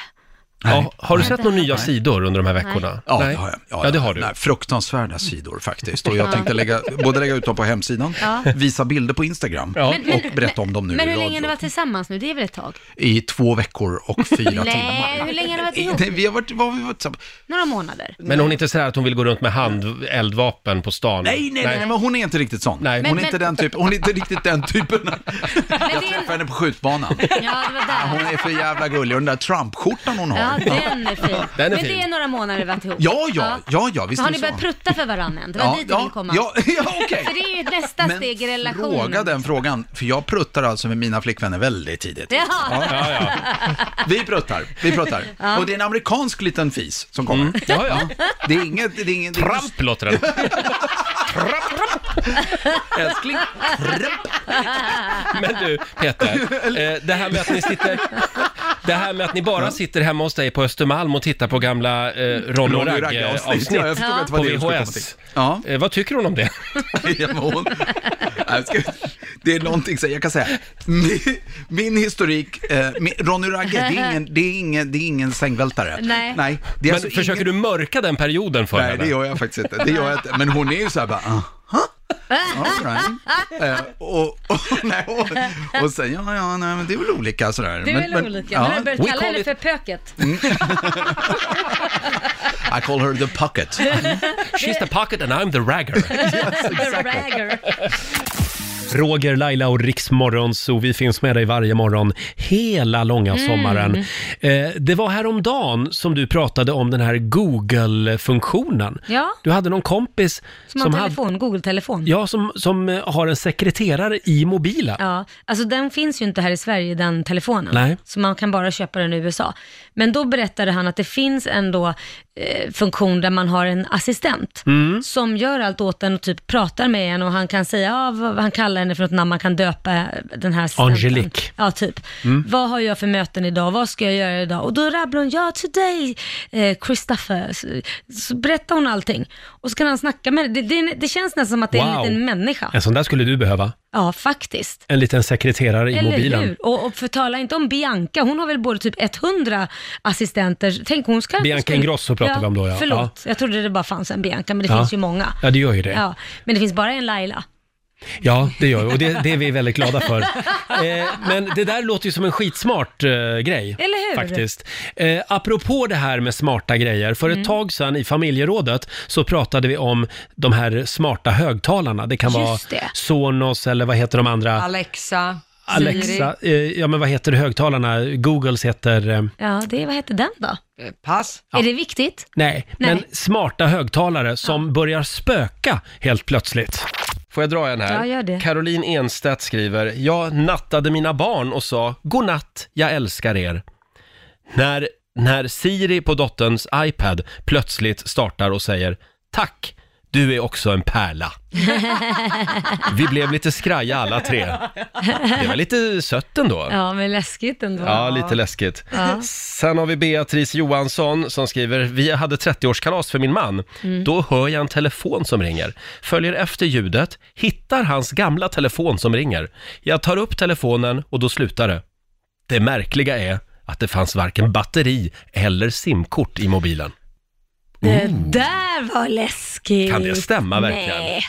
S1: Ja, har du
S3: Nej,
S1: sett
S3: det
S1: några
S3: har
S1: nya
S3: jag.
S1: sidor under de här veckorna?
S9: Ja,
S1: Nej.
S9: det har jag.
S1: Ja, det har du.
S9: Nej, fruktansvärda sidor faktiskt. Och jag tänkte lägga, både lägga ut dem på hemsidan, visa bilder på Instagram
S1: Ja.
S3: Men- men-
S9: och berätta om dem nu
S3: Men
S9: i
S3: hur länge har ni
S9: radio.
S3: varit tillsammans nu? Det är väl ett tag?
S9: I två veckor och fyra
S3: Nej,
S9: timmar.
S3: hur länge har ni varit
S9: I-
S3: ihop?
S9: det- Vi har varit, vad har vi varit tillsammans?
S3: Några månader.
S1: Men hon är inte så här att hon vill gå runt med hand, eldvapen på stan?
S9: Nej, nej, nej, men hon är inte riktigt sån. Hon,
S1: Nej. Men-
S9: är inte
S3: men-
S9: den typen, hon är inte riktigt den typen. Jag
S3: det-
S9: träffade henne på skjutbanan.
S3: Ja, det var
S9: Ja, Hon
S3: där.
S9: är för jävla gullig. Och den där Trump-skjortan hon
S3: Ja,
S9: har.
S3: den är fin.
S1: Den är
S3: men
S1: fin.
S3: det är några månader varit ihop.
S9: Ja, ja, ja, ja, visst
S3: Har
S9: är
S3: ni
S9: det
S3: börjat
S9: så.
S3: prutta för varandra än? Det var
S9: Ja,
S3: dit jag
S9: ja,
S3: ville komma.
S9: ja, ja okej.
S3: För det är ju ett nästa steg i relationen.
S9: fråga den frågan, för jag pruttar alltså med mina flickvänner väldigt tidigt.
S3: Ja.
S1: Ja, ja.
S9: Vi pruttar, vi pruttar. Och det är en amerikansk liten fis som kommer.
S1: Mm. ja, ja.
S9: Det är inget, det är inget... det är inget-
S1: Tramp låter den.
S9: Älskling, tramp.
S1: Men du, Peter, eh, det här med att ni sitter... Det här med att ni bara sitter hemma hos dig på Östermalm och tittar på gamla eh, Ronny och
S9: Ronny och Ragge-avsnitt.
S1: Ragge-avsnitt
S9: Ja, jag förstod
S3: Ja.
S9: inte
S1: på
S9: vad det skulle komma till.
S1: VHS.
S9: Ja.
S1: Eh, vad tycker hon om det?
S9: Ja, men hon- Jag ska- Det är någonting, så jag kan säga, min, min historik, eh, min, Ronny Ragge, det är ingen, det är ingen, det är ingen sängvältare.
S3: Nej.
S9: Nej det är
S1: Men
S9: alltså
S1: försöker
S9: ingen,
S1: du mörka den perioden för
S9: Nej,
S1: henne?
S9: det gör jag faktiskt inte. Det gör jag inte. Men hon är ju så här bara, aha. All right. Eh, och, och, nej, och, och sen, ja, ja, nej, men det är väl olika sådär.
S3: Du
S9: men,
S3: är väl
S9: men-
S3: olika? Men har
S9: Ja,
S3: du börjat
S1: We
S3: kalla
S1: call
S3: henne
S1: it-
S3: för pöket?
S9: I call her the pocket.
S1: She's the pocket and I'm the ragger.
S3: Ragger.
S1: Roger, Laila och Riksmorgon, så vi finns med dig varje morgon hela långa sommaren. Eh, det var häromdagen som du pratade om den här Google-funktionen.
S3: Ja.
S1: Du hade någon kompis
S3: Som har telefon, Google-telefon.
S1: Ja, som, som eh, har en sekreterare i mobilen.
S3: Ja, alltså den finns ju inte här i Sverige, den telefonen.
S1: Nej.
S3: Så man kan bara köpa den i USA. Men då berättade han att det finns ändå eh, funktion där man har en assistent
S9: Mm.
S1: Mm.
S3: som gör allt åt en och typ pratar med en och han kan säga, ja, vad han kallar henne för något namn, man kan döpa den här assistenten.
S1: Angelique.
S3: Ja, typ.
S1: Mm.
S3: Vad har jag för möten idag? Vad ska jag göra idag? Och då rabblar hon, ja, today, eh, Christopher. Så, så berättar hon allting. Och så kan han snacka med det. Det, det, det känns nästan som att det är en
S1: Wow.
S3: liten människa.
S1: En sån där skulle du behöva.
S3: Ja, faktiskt.
S1: En liten sekreterare i
S3: Eller
S1: mobilen.
S3: hur? Och, och förtala inte om Bianca, hon har väl både typ 100 assistenter. Tänk hon ska...
S1: Bianca Ingrosso pratar vi om då, ja.
S3: Förlåt, jag trodde det bara fanns en Bianca, men det
S1: Ja.
S3: finns ju många.
S1: Ja, det gör ju det. Ja,
S3: Ja, men det finns bara en Laila.
S1: det gör ju. Och det, det är vi väldigt glada för. Eh, men det där låter ju som en skitsmart eh, grej.
S3: Eller hur?
S1: Faktiskt. Eh, apropå det här med smarta grejer. För
S3: Mm.
S1: ett tag sedan i familjerådet så pratade vi om de här smarta högtalarna. Det kan vara
S3: Just det.
S1: Sonos eller vad heter de andra?
S2: Alexa, Siri,
S1: Alexa. Eh, ja, men vad heter högtalarna? Googles heter... Eh,
S3: Ja, det, vad hette den då?
S2: eh, pass.
S3: Är det viktigt?
S1: Nej,
S3: Nej.
S1: men smarta högtalare som börjar spöka helt plötsligt. Får jag dra en här?
S3: Ja, gör det.
S1: Caroline Enstedt skriver, jag nattade mina barn och sa godnatt, jag älskar er. När, när Siri på dotterns iPad plötsligt startar och säger tack, du är också en pärla. Vi blev lite skraja alla tre. Det var lite sött ändå.
S3: Ja, men läskigt ändå.
S1: Ja, lite läskigt. Sen har vi Beatrice Johansson som skriver, vi hade 30-årskalas för min man. Då hör jag en telefon som ringer. Följer efter ljudet, hittar hans gamla telefon som ringer. Jag tar upp telefonen och då slutar det. Det märkliga är att det fanns varken batteri eller simkort i mobilen.
S3: Det där var läskigt.
S1: Mm. Kan det stämma verkligen?
S3: Nej.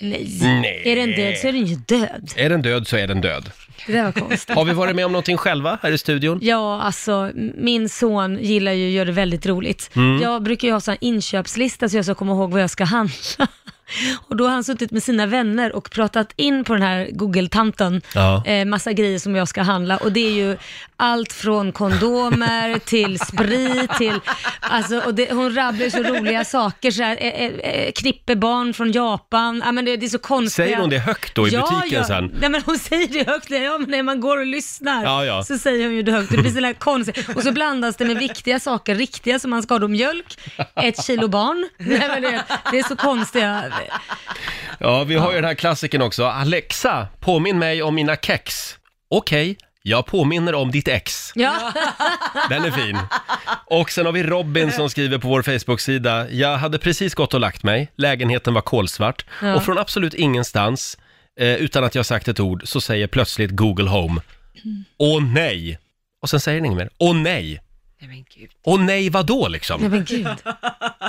S3: Nej.
S1: Nej.
S3: Är den död så är den ju död.
S1: Är den död så är den död.
S3: Det där var konstigt.
S1: Har vi varit med om någonting själva här i studion?
S3: Ja, alltså min son gillar ju att göra det väldigt roligt.
S1: Mm.
S3: Jag brukar ju ha sån här inköpslista så jag ska komma ihåg vad jag ska handla. Och då har han suttit med sina vänner och pratat in på den här Google-tanten
S1: Ja.
S3: eh, massa grejer som jag ska handla. Och det är ju allt från kondomer till sprit till, alltså, och det, hon rabblar ju så roliga saker, så här, eh, eh, eh, knippebarn från Japan. Ja, men det, det är så konstigt.
S1: Säger hon det högt då i
S3: ja,
S1: butiken
S3: ja.
S1: sen?
S3: Nej men hon säger det högt, ja, men när man går och lyssnar
S1: Ja, ja.
S3: så säger hon ju det högt och det blir sådana här konstiga, och så blandas det med viktiga saker, riktiga som man ska ha då mjölk, ett kilo barn. Nej, men det, det är så konstiga,
S1: Ja, vi har ju den här klassiken också. Alexa, påminn mig om mina kex. Okej, jag påminner om ditt ex.
S3: ja,
S1: Den är fin. Och sen har vi Robin som skriver på vår Facebook-sida. Jag hade precis gått och lagt mig. Lägenheten var kolsvart.
S3: Ja.
S1: Och från absolut ingenstans, eh, utan att jag sagt ett ord, så
S3: Mm.
S1: säger plötsligt Google Home. Åh nej! Och sen säger den inget mer. Åh nej!
S2: Nej men gud.
S1: Och nej, vad då liksom?
S3: Nej men gud.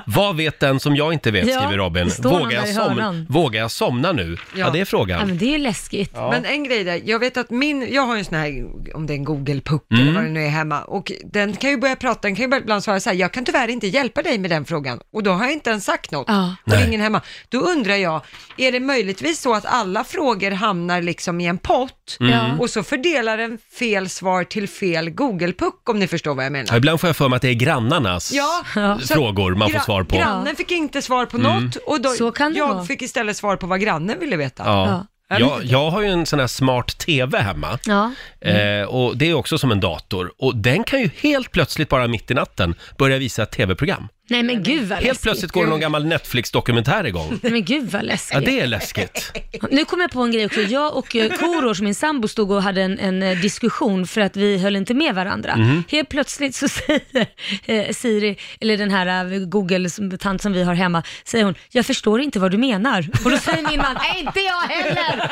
S1: Vad vet den som jag inte vet,
S3: Ja,
S1: skriver Robin.
S3: det står någon
S1: Vågar
S3: där
S1: jag,
S3: i
S1: som,
S3: hörnan.
S1: vågar jag somna nu? Ja,
S2: Ja.
S1: det är
S3: Ja,
S1: frågan.
S3: men det är ju läskigt.
S2: Men en grej där, jag vet att min, jag har ju en sån här, om det är en Google Puck eller
S1: Mm.
S2: vad det nu är hemma, och den kan ju börja prata, den kan ju börja ibland svara så här, jag kan tyvärr inte hjälpa dig med den frågan, och då har jag inte ens sagt något,
S3: Ja.
S2: och det
S1: Nej.
S2: är ingen hemma. Då undrar jag, är det möjligtvis så att alla frågor hamnar liksom i en pott,
S1: Mm.
S3: Ja.
S2: och så fördelar den fel svar till fel Google Puck, om ni förstår vad jag menar?
S1: Ja, ibland får jag för mig att det är grannarnas
S2: så att
S1: frågor man får
S2: gra-
S1: svar på. Mm.
S2: Grannen fick inte svar på något, och då,
S3: Så kan det
S2: jag
S3: vara.
S2: fick istället svar på vad grannen ville veta.
S1: Ja.
S3: Ja.
S1: Jag, jag har ju en sån här smart TV hemma.
S3: Ja.
S1: Eh, och det är också som en dator. Och den kan ju helt plötsligt bara mitt i natten börja visa ett TV-program.
S3: Nej men gud vad
S1: Helt
S3: läskigt.
S1: plötsligt går det någon gammal Netflix-dokumentär igång.
S3: Nej men gud vad
S1: Ja,
S3: läskigt.
S1: det är läskigt.
S3: Nu kom jag på en grej också. Jag och eh, Korosh, min sambo, stod och hade en, en eh, diskussion för att vi höll inte med varandra.
S1: Mhm.
S3: Helt plötsligt så säger eh, Siri, eller den här eh, Google-tant som vi har hemma, säger hon, jag förstår inte vad du menar. Och då säger min man, "Nej, inte jag heller.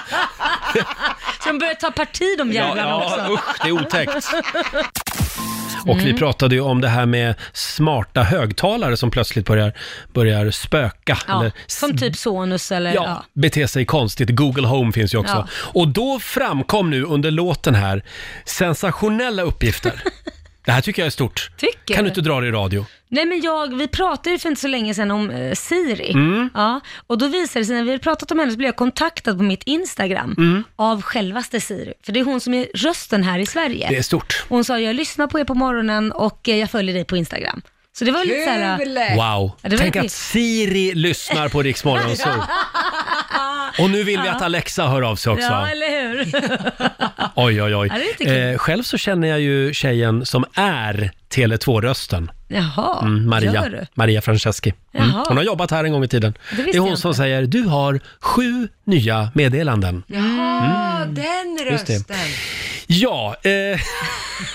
S3: så de börjar ta parti de
S1: Ja,
S3: jävlarna
S1: ja,
S3: också.
S1: usch, det är otäckt.
S3: Mm.
S1: Och vi pratade ju om det här med smarta högtalare som plötsligt börjar, börjar spöka.
S3: Ja,
S1: eller
S3: som typ Sonus eller ja.
S1: ja, bete sig konstigt. Google Home finns ju också.
S3: Ja.
S1: Och då framkom nu under låten här sensationella uppgifter. Det här tycker jag är stort.
S3: Tycker
S1: kan du
S3: du?
S1: inte dra det i radio?
S3: Nej men jag, vi pratade ju för inte så länge sedan om eh, Siri.
S1: Mm.
S3: Ja, och då visade det sig, när vi hade pratat om henne så blev jag kontaktad på mitt Instagram
S1: Mm.
S3: av självaste Siri. För det är hon som är rösten här i Sverige.
S1: Det är stort.
S3: Och Hon sa, jag lyssnar på er på morgonen och eh, jag följer dig på Instagram. Så det var lite såhär,
S1: Wow.
S3: Ja, det var
S1: Tänk
S3: ju-
S1: att Siri lyssnar på Rix Morgon Zoo. Och nu vill vi att Alexa hör av sig också.
S3: ja eller hur?
S1: Oj, oj, oj.
S3: Ja, det är lite kul.
S1: eh, själv så känner jag ju tjejen som är Tele2-rösten, Mm,
S3: Jaha, gör
S1: Maria,
S3: du?
S1: Maria Franceschi. Mm.
S3: Jaha.
S1: Hon har jobbat här en gång i tiden.
S3: Det
S1: Det,
S3: visste
S1: är hon
S3: jag
S1: som
S3: inte.
S1: säger “Du har sju nya meddelanden”.
S2: Jaha, den
S1: Mm. det.
S2: rösten.
S1: Ja, eh,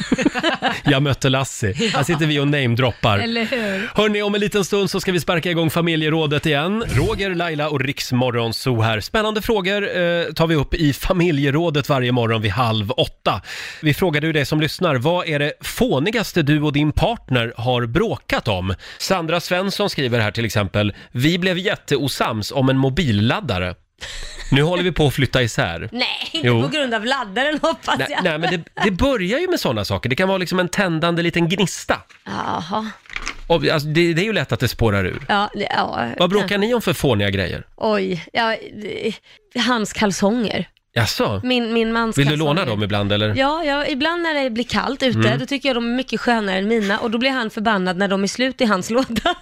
S1: jag mötte Lassie. Här sitter vi och namedroppar.
S3: Eller hur?
S1: Hörni, om en liten stund så ska vi sparka igång familjerådet igen. Roger, Laila och Riksmorgon Zoo här. Spännande frågor eh, tar vi upp i familjerådet varje morgon vid halv åtta. Vi frågade ju dig som lyssnar, vad är det fånigaste du och din partner har bråkat om? Sandra Svensson skriver här till exempel, vi blev jätteosams om en mobilladdare. Nu håller vi på att flytta isär.
S3: Nej, inte
S1: Jo.
S3: på grund av laddaren hoppas
S1: Nej,
S3: jag.
S1: nej men det, det börjar ju med sådana saker. Det kan vara liksom en tändande liten gnista.
S3: Jaha,
S1: Och, alltså, det, det är ju lätt att det spårar ur.
S3: ja, det- ja.
S1: Vad bråkar ni om för fåniga grejer?
S3: Oj, ja, det- hans kalsonger.
S1: Jaså?
S3: Min, min mans
S1: Vill du
S3: kalsonger.
S1: låna dem ibland eller? Mm.
S3: Ja, ja, ibland när det blir kallt ute, då tycker jag de är mycket skönare än mina och då blir han förbannad när de är slut i hans låda.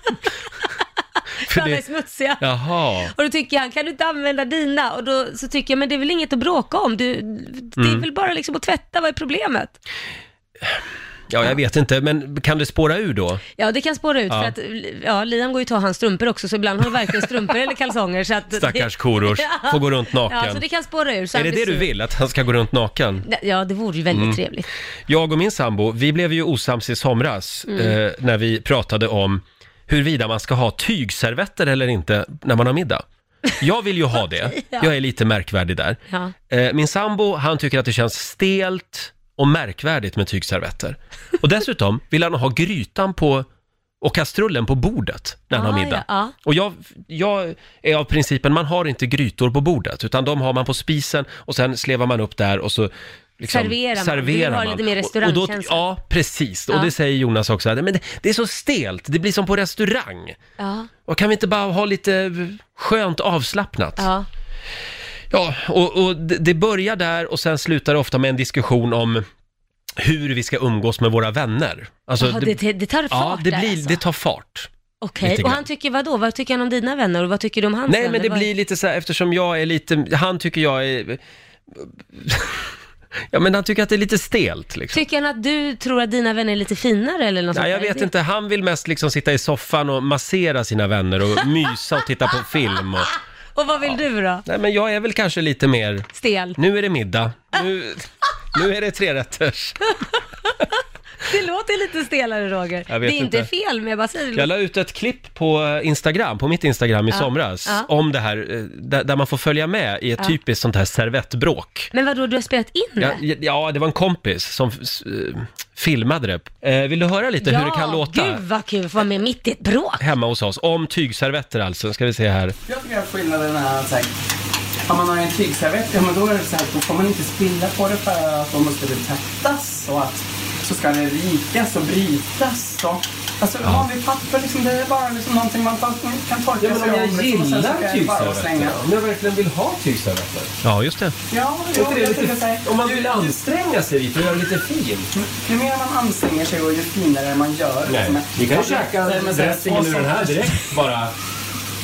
S1: För
S3: För de
S1: det-
S3: är smutsiga.
S1: Jaha.
S3: Och då tycker han, kan du inte använda dina? Och då så tycker jag, men det är väl inget att bråka om? Du, det
S1: Mm.
S3: är väl bara liksom att tvätta, vad är problemet?
S1: Ja, jag vet inte, men kan det spåra ur då?
S3: Ja, det kan spåra ut
S1: Ja.
S3: för att ja, Liam går ju ta hans strumpor också, så ibland har han varken strumpor eller kalsonger. Så att
S1: Stackars Korosh,
S3: Ja.
S1: får gå runt
S3: Ja, så
S1: naken.
S3: det kan spåra ur. Så
S1: Är
S3: han
S1: det det
S3: blir
S1: du Mm.
S3: sur.
S1: vill, att han ska gå runt naken?
S3: Ja, det vore ju väldigt trevligt.
S1: Jag och min sambo, vi blev ju osams i somras
S3: Mm.
S1: eh, när vi pratade om huruvida man ska ha tygservetter eller inte när man har middag. Jag vill ju ha det,
S3: ja.
S1: jag är lite märkvärdig där.
S3: Ja.
S1: Eh, Min sambo, han tycker att det känns stelt och märkvärdigt med tygservetter. Och dessutom vill han ha grytan på och kastrullen på bordet när han
S3: Ah,
S1: har middag.
S3: ja, ja.
S1: Och jag, jag är av principen, man har inte grytor på bordet, utan de har man på spisen och sen slevar man upp där och så liksom,
S3: Serverar man.
S1: serverar
S3: Du har
S1: man.
S3: lite mer
S1: Och- och då-
S3: restaurangkänsla.
S1: Ja, precis. Och
S3: Ja.
S1: det säger Jonas också, att, men det, det är så stelt, det blir som på restaurang.
S3: Ja,
S1: Och kan vi inte bara ha lite skönt avslappnat?
S3: ja.
S1: Ja, och, och det det börjar där och sen slutar det ofta med en diskussion om hur vi ska umgås med våra vänner. Alltså,
S3: Jaha, det, det, tar fart
S1: ja, det,
S3: där
S1: blir,
S3: alltså.
S1: det tar fart.
S3: Okej,
S1: Lite
S3: och
S1: grann.
S3: han tycker vad då? Vad tycker han om dina vänner och vad tycker du om hans
S1: Nej,
S3: vänner?
S1: men det
S3: Vad-
S1: blir lite så här, eftersom jag är lite, han tycker jag är... Ja, men han tycker att det är lite stelt liksom.
S3: Tycker han att du tror att dina vänner är lite finare eller något sånt
S1: Nej, jag
S3: där?
S1: vet
S3: Det-
S1: inte. Han vill mest liksom sitta i soffan och massera sina vänner och mysa och titta på film. Och...
S3: Och vad vill du då?
S1: Nej, men jag är väl kanske lite mer...
S3: Stel?
S1: Nu är det middag. Nu, nu är det trerätters.
S3: Det låter lite stelare Roger.
S1: Jag vet
S3: det är inte
S1: inte.
S3: fel, men jag bara säger
S1: Jag
S3: det.
S1: la ut ett klipp på eh, Instagram, på mitt Instagram i
S3: Ja.
S1: somras,
S3: Ja.
S1: om det här, eh, där, där man får följa med i ett typiskt sånt här servettbråk.
S3: Men vadå, du har spelat in det?
S1: Ja, ja, det var en kompis som eh, filmade det. Eh, vill du höra lite hur det kan låta
S3: gud vad kul att få vara med mitt i ett bråk.
S1: hemma hos oss? Om tygservetter alltså, ska vi se här.
S7: Jag tycker att skillnaden är att så här, om man har en tygservett, ja men då är det så här, då får man inte spilla på det för att då måste det tvättas och att så ska det rikas och brytas och Alltså vanligt papper liksom, det är bara liksom någonting man tar- kan torka sig om. liksom, och sen så kan jag bara slänga.
S10: om jag verkligen vill ha tygservetter.
S1: Ja, just det.
S7: Ja, jo, jag tycker så här,
S10: Om man vill anstränga sig lite och göra det lite fint.
S7: ju mer man anstränger sig och ju finare man gör. liksom.
S10: vi kan ju
S7: Och så-
S10: käka
S7: nej, men så här,
S10: dressingen
S7: och
S10: ur
S7: så-
S10: den här direkt bara.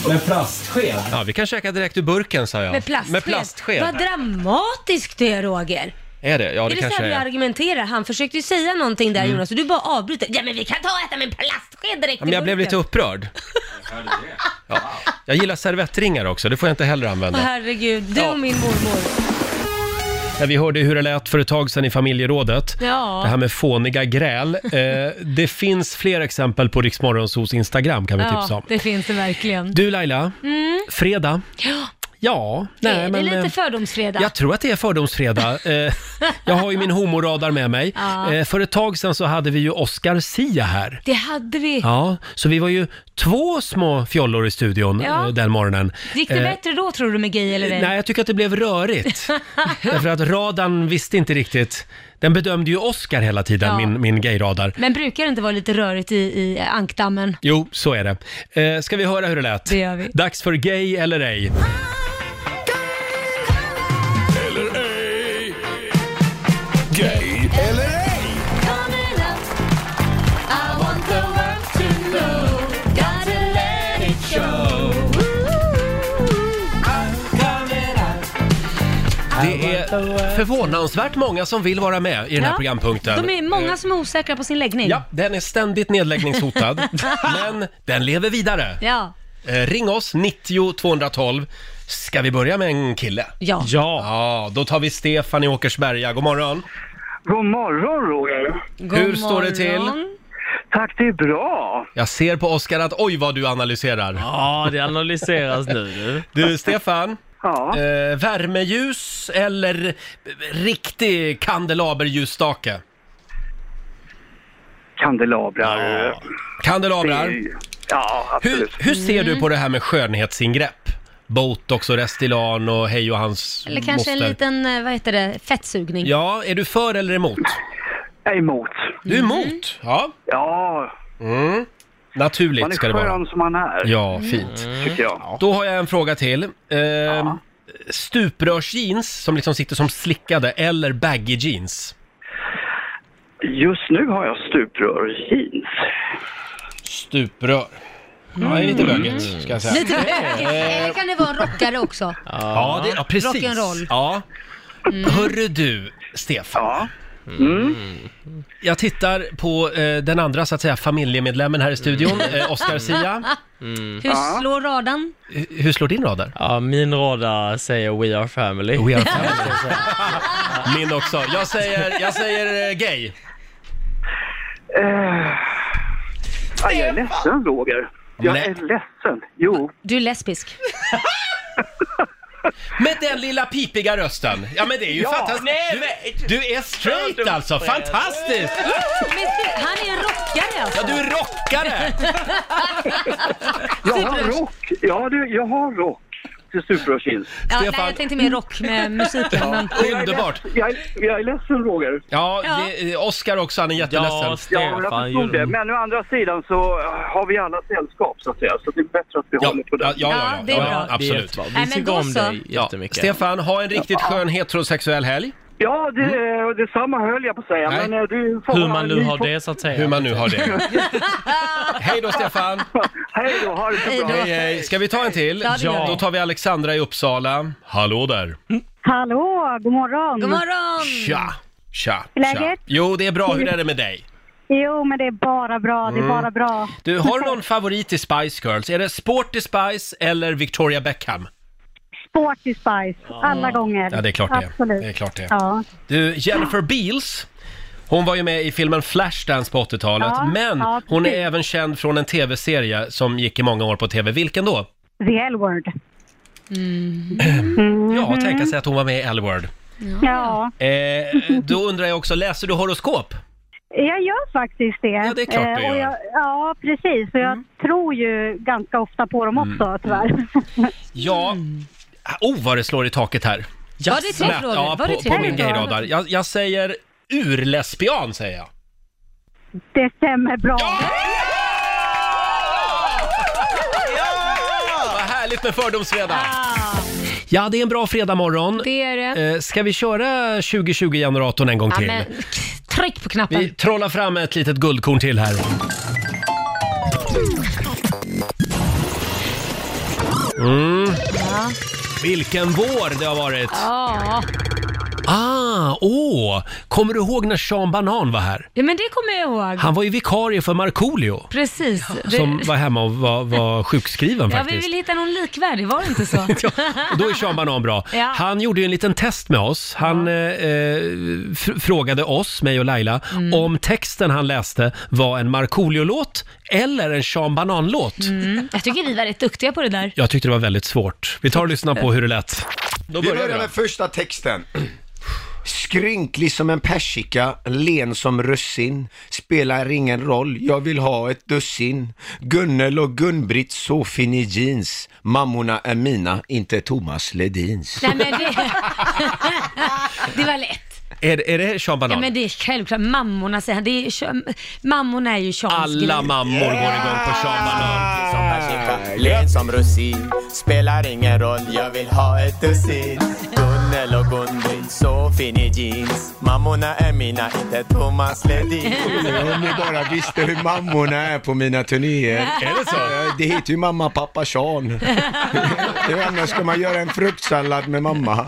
S10: Med plastsked.
S1: Ja, vi kan käka direkt ur burken, sa jag.
S3: Med plastsked.
S1: Med plastsked.
S3: Vad dramatiskt du är Roger.
S1: Är det? Ja, det,
S3: är det så
S1: kanske
S3: här
S1: är.
S3: du
S1: Mm.
S3: argumenterar? Han försökte ju säga någonting där Jonas och du bara avbryter. Ja men vi kan ta och äta med plastsked direkt
S1: Ja, men jag blev lite upprörd. Ja. Jag gillar servettringar också, det får jag inte heller använda.
S3: Åh herregud, du
S1: Ja.
S3: och min mormor.
S1: Ja, vi hörde hur det lät för ett tag sedan i familjerådet.
S3: Ja.
S1: Det här med fåniga gräl. Eh, det finns fler exempel på Riksmorgonsos Instagram kan vi tipsa om.
S3: Ja, det finns det verkligen. Mm.
S1: Du Laila, fredag.
S3: Ja,
S1: Ja,
S3: det,
S1: nej
S3: är-
S1: men...
S3: det är lite
S1: eh,
S3: fördomsfredag.
S1: jag tror att det är fördomsfredag. Eh, jag har ju min homoradar med mig.
S3: Ja.
S1: Eh, För ett tag sedan så hade vi ju Oscar Sia här.
S3: Det hade vi.
S1: Ja, så vi var ju två små fjollor i studion
S3: Ja.
S1: eh, den morgonen.
S3: Gick det
S1: Eh,
S3: bättre då tror du med gay eller ej?
S1: Nej, jag tycker att det blev rörigt. Därför att radarn visste inte riktigt. Den bedömde ju Oscar hela tiden,
S3: Ja.
S1: min, min gayradar.
S3: Men brukar det inte vara lite rörigt i, i ankdammen?
S1: Jo, så är det. Eh, ska vi höra hur det lät?
S3: Det gör vi.
S1: Dags för Gay eller ej.
S4: Gay eller ej?
S1: Det är förvånansvärt många som vill vara med i den här
S3: Ja,
S1: programpunkten. Eh,
S3: De är många som är osäkra på sin läggning.
S1: Ja, den är ständigt nedläggningshotad, men den lever vidare.
S3: Ja.
S1: Eh, ring oss, 90 212. Ska vi börja med en kille?
S3: Ja.
S1: Ja, då tar vi Stefan i Åkersberga. God morgon.
S8: God morgon Roger!
S3: God
S1: Hur står det till?
S3: morgon.
S8: Tack, det är bra!
S1: Jag ser på Oskar att oj vad du analyserar.
S10: Ja, det analyseras nu du.
S1: Du Stefan,
S8: Ja.
S1: eh, värmeljus eller eh, riktig kandelaberljusstake?
S8: Kandelabrar.
S1: Kandelabrar.
S8: Ja,
S1: Hur,
S8: absolut.
S1: hur
S3: Mm.
S1: ser du på det här med skönhetsingrepp? Botox och Restylane och hej och hans
S3: Eller kanske en
S1: moster.
S3: liten, eh, vad heter det, fettsugning?
S1: Ja, är du för eller emot?
S8: Jag är emot.
S1: Du är emot? Ja, Mm.
S8: Ja, man
S1: naturligt
S8: är
S1: ska det vara.
S8: skön som man är,
S1: Ja, fint.
S8: Mm. tycker jag.
S1: Då har jag en fråga till. Eh, Stuprörsjeans som liksom sitter som slickade eller baggy jeans?
S8: Just nu har jag stuprör jeans.
S1: Stuprör. Ja, det är lite bögigt, ska jag säga. Eh,
S3: Lite Eller kan det vara en rockare också?
S1: Ja, det, ja precis.
S3: Rock'n'roll.
S1: Ja. Mm. Hörru du, Stefan. Mm.
S8: Ja. Mm.
S1: Jag tittar på eh, den andra, så att säga, familjemedlemmen här i studion, eh, Oscar Sia.
S8: Mm.
S3: Hur slår radan?
S1: H- hur slår din radar?
S10: Ja, min radar säger We Are Family.
S1: We are family. Min också. Jag säger, jag säger eh, gay.
S8: Ja, jag är ledsen Roger. Jag
S1: Nej.
S8: är ledsen. Jo,
S3: Du är lesbisk.
S1: Med den lilla pipiga rösten. Ja men det är ju fantastiskt. Du, du är straight alltså, fantastiskt!
S3: Men gud, han är en rockare alltså.
S1: Ja, du är rockare!
S8: jag har rock. Ja, du, jag har rock till stuprör jeans.
S3: Ja, nej,
S1: Stefan.
S3: jag tänkte mer rock med musiken. Men...
S1: Underbart!
S8: Jag, är- jag är ledsen Roger.
S1: Ja,
S3: Ja.
S1: det- eh, Oscar också, han är jätteledsen.
S10: Ja,
S8: Ja, jag
S10: Stefan.
S8: förstod det. Men å andra sidan så har vi alla sällskap så att säga. Så det är bättre att vi
S1: Ja,
S8: håller på
S1: ja,
S8: det.
S1: ja, ja,
S3: Ja, det är
S1: ja,
S3: bra.
S1: ja absolut.
S10: Det är jättebra.
S3: Nej,
S10: Vi
S3: men
S10: tycker
S3: då
S10: om
S3: så.
S10: dig
S1: Ja,
S10: jättemycket.
S1: Stefan, ha en riktigt skön heterosexuell helg. Mm.
S8: Ja, det, detsamma höll jag på att säga.
S1: Nej.
S8: Men eh, du får
S10: Hur
S8: ha
S10: man
S8: en
S10: nu
S8: ny
S10: har
S8: på-
S10: det så att säga.
S1: Hur man nu har det. Hej då Stefan!
S8: Hej då, ha det så bra.
S1: Hej hej! Ska vi ta en till?
S3: Ja, det gör vi.
S1: Då tar vi Alexandra i Uppsala. Hallå där!
S6: Hallå, god morgon.
S3: God morgon!
S1: Tja! Tja!
S6: Hur är
S1: tja.
S6: läget?
S1: Jo, det är bra. Hur är det med dig?
S6: Jo, men det är bara bra.
S1: Mm.
S6: Det är bara bra.
S1: Du, har du någon favorit i Spice Girls? Är det Sporty Spice eller Victoria Beckham?
S6: Sporty Spice, alla gånger.
S1: Ja, det är klart det är.
S6: Absolut.
S1: Det är klart det är.
S6: Ja.
S1: Du, Jennifer Beals, Hon var ju med i filmen Flashdance på 80-talet,
S6: Ja,
S1: men
S6: ja,
S1: hon är
S6: precis.
S1: även känd från en tv-serie som gick i många år på tv. Vilken då?
S6: The L-word.
S3: Mm.
S1: Ja,
S6: Mhm.
S1: tänka sig att hon var med i L-Word.
S6: Ja.
S1: Eh, då undrar jag också, läser du horoskop?
S6: Jag gör faktiskt det. Ja,
S1: det är klart du
S6: och
S1: gör.
S6: Jag, ja, precis. Och jag
S3: Mm.
S6: tror ju ganska ofta på dem
S1: Mm.
S6: också, tyvärr.
S1: Ja. Oh, vad det slår i taket här.
S6: Mm. Ja, det är tre
S1: Jaså.
S6: frågor.
S1: Ja,
S6: Var det
S1: på,
S6: tre
S1: på min
S6: frågor?
S1: gayradar. Jag, jag säger urlesbian, säger jag.
S6: Det stämmer bra.
S1: Ah, Vad härligt med fördomsfredag!
S7: Ah.
S1: Ja, det är en bra fredagmorgon.
S3: Det är det.
S1: Eh, Ska vi köra 2020-generatorn en gång
S3: Ja,
S1: till?
S3: men, tryck på knappen.
S1: Vi trollar fram ett litet guldkorn till här. Mm.
S3: Ja.
S1: Vilken vår det har varit!
S3: Ja.
S1: Ah, åh! Kommer du ihåg när Sean Banan var här?
S3: ja, men det kommer jag ihåg.
S1: Han var ju vikarie för Markoolio
S3: Precis. Det-
S1: som var hemma och var, var sjukskriven
S3: Ja,
S1: faktiskt.
S3: vi vill hitta någon likvärdig, var det inte så?
S1: Och Då är Sean Banan bra.
S3: Ja.
S1: Han gjorde ju en liten test med oss. Han eh, eh, fr- frågade oss, mig och Laila,
S3: Mm.
S1: om texten han läste var en Markoolio-låt eller en Sean Banan-låt.
S3: Mm. Jag tycker vi var rätt duktiga på det där.
S1: Jag tyckte det var väldigt svårt. Vi tar och lyssnar på hur det lät. Då
S11: vi
S1: börjar vi
S11: börjar
S1: då.
S11: med första texten. Skrynklig som en persika, len som russin. Spelar ingen roll, jag vill ha ett dussin. Gunnel och Gun-Britt, så fin i jeans. Mammorna är mina, inte Thomas Ledins.
S3: Nej, men det... det var lätt.
S1: Är, är det Sean
S3: Ja,
S1: Banan?
S3: men det är självklart. Mammorna säger han. Det är, kö- mammorna är ju Eh, Seans
S1: Alla
S3: grej.
S1: mammor går igång på Sean Banan.
S12: Som persika, len som russin Spelar ingen roll, jag vill ha ett dussin Gunnel och Gun-Britt, så fin i jeans Mammorna är mina, inte Thomas Ledin
S11: Om ni bara visste hur mammorna är på mina turnéer.
S12: Är det så?
S11: Eh, Det heter ju mamma, pappa, Sean. Hur annars ska man göra en fruktsallad med mamma?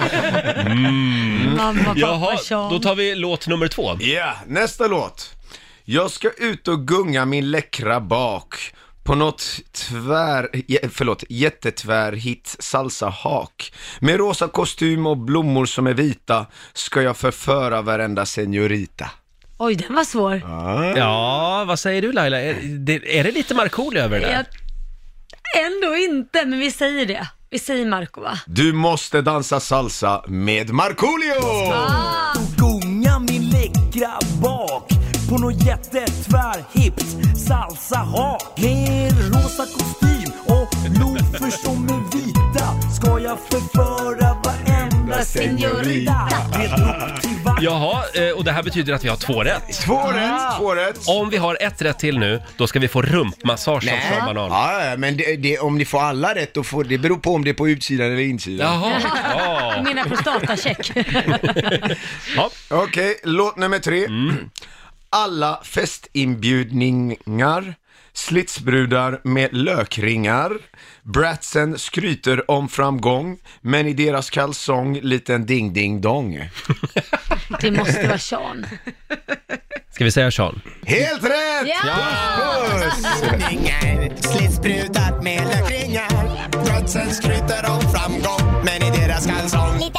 S1: Mm.
S3: Mamma, pappa,
S11: Jaha,
S3: Sean.
S11: då tar
S1: vi låt nummer två.
S11: Ja, nästa låt. Jag ska ut och gunga min läckra bak på något tvär, je- förlåt, jättetvär hit salsa hak. Med rosa kostym och blommor som är vita ska jag förföra varenda senorita.
S3: Oj, den var svår.
S1: Ja, vad säger du Laila? Är det, är det lite Markoolio över det där?
S3: Jag... Ändå inte, men vi säger det. Vi säger Marco va?
S11: Du måste dansa salsa med Markoolio!
S3: Ah!
S7: Gunga min läckra bak på nåt jättetvärhippt salsahak. Med rosa kostym och lofer som är vita ska jag förföra varenda senorita.
S1: Jaha, eh, och det här betyder att vi har två rätt.
S11: Två rätt, två rätt.
S1: Om vi har ett rätt till nu, då ska vi få rumpmassage av Sean Banan.
S11: Ja, ja, men det, det, om ni får alla rätt, då får, det beror på om det är på utsidan eller insidan.
S1: Jaha,
S3: Jag menar prostatacheck.
S11: Okej, låt nummer tre.
S1: Mm.
S11: Alla festinbjudningar, slitsbrudar med lökringar, bratsen skryter om framgång, men i deras kalsong liten ding-ding-dong.
S3: Det måste vara Sean.
S1: Ska vi säga Sean?
S11: Helt rätt!
S12: Slitsbrutat med lökringar Trotsen skryter om framgång Men i deras kalsong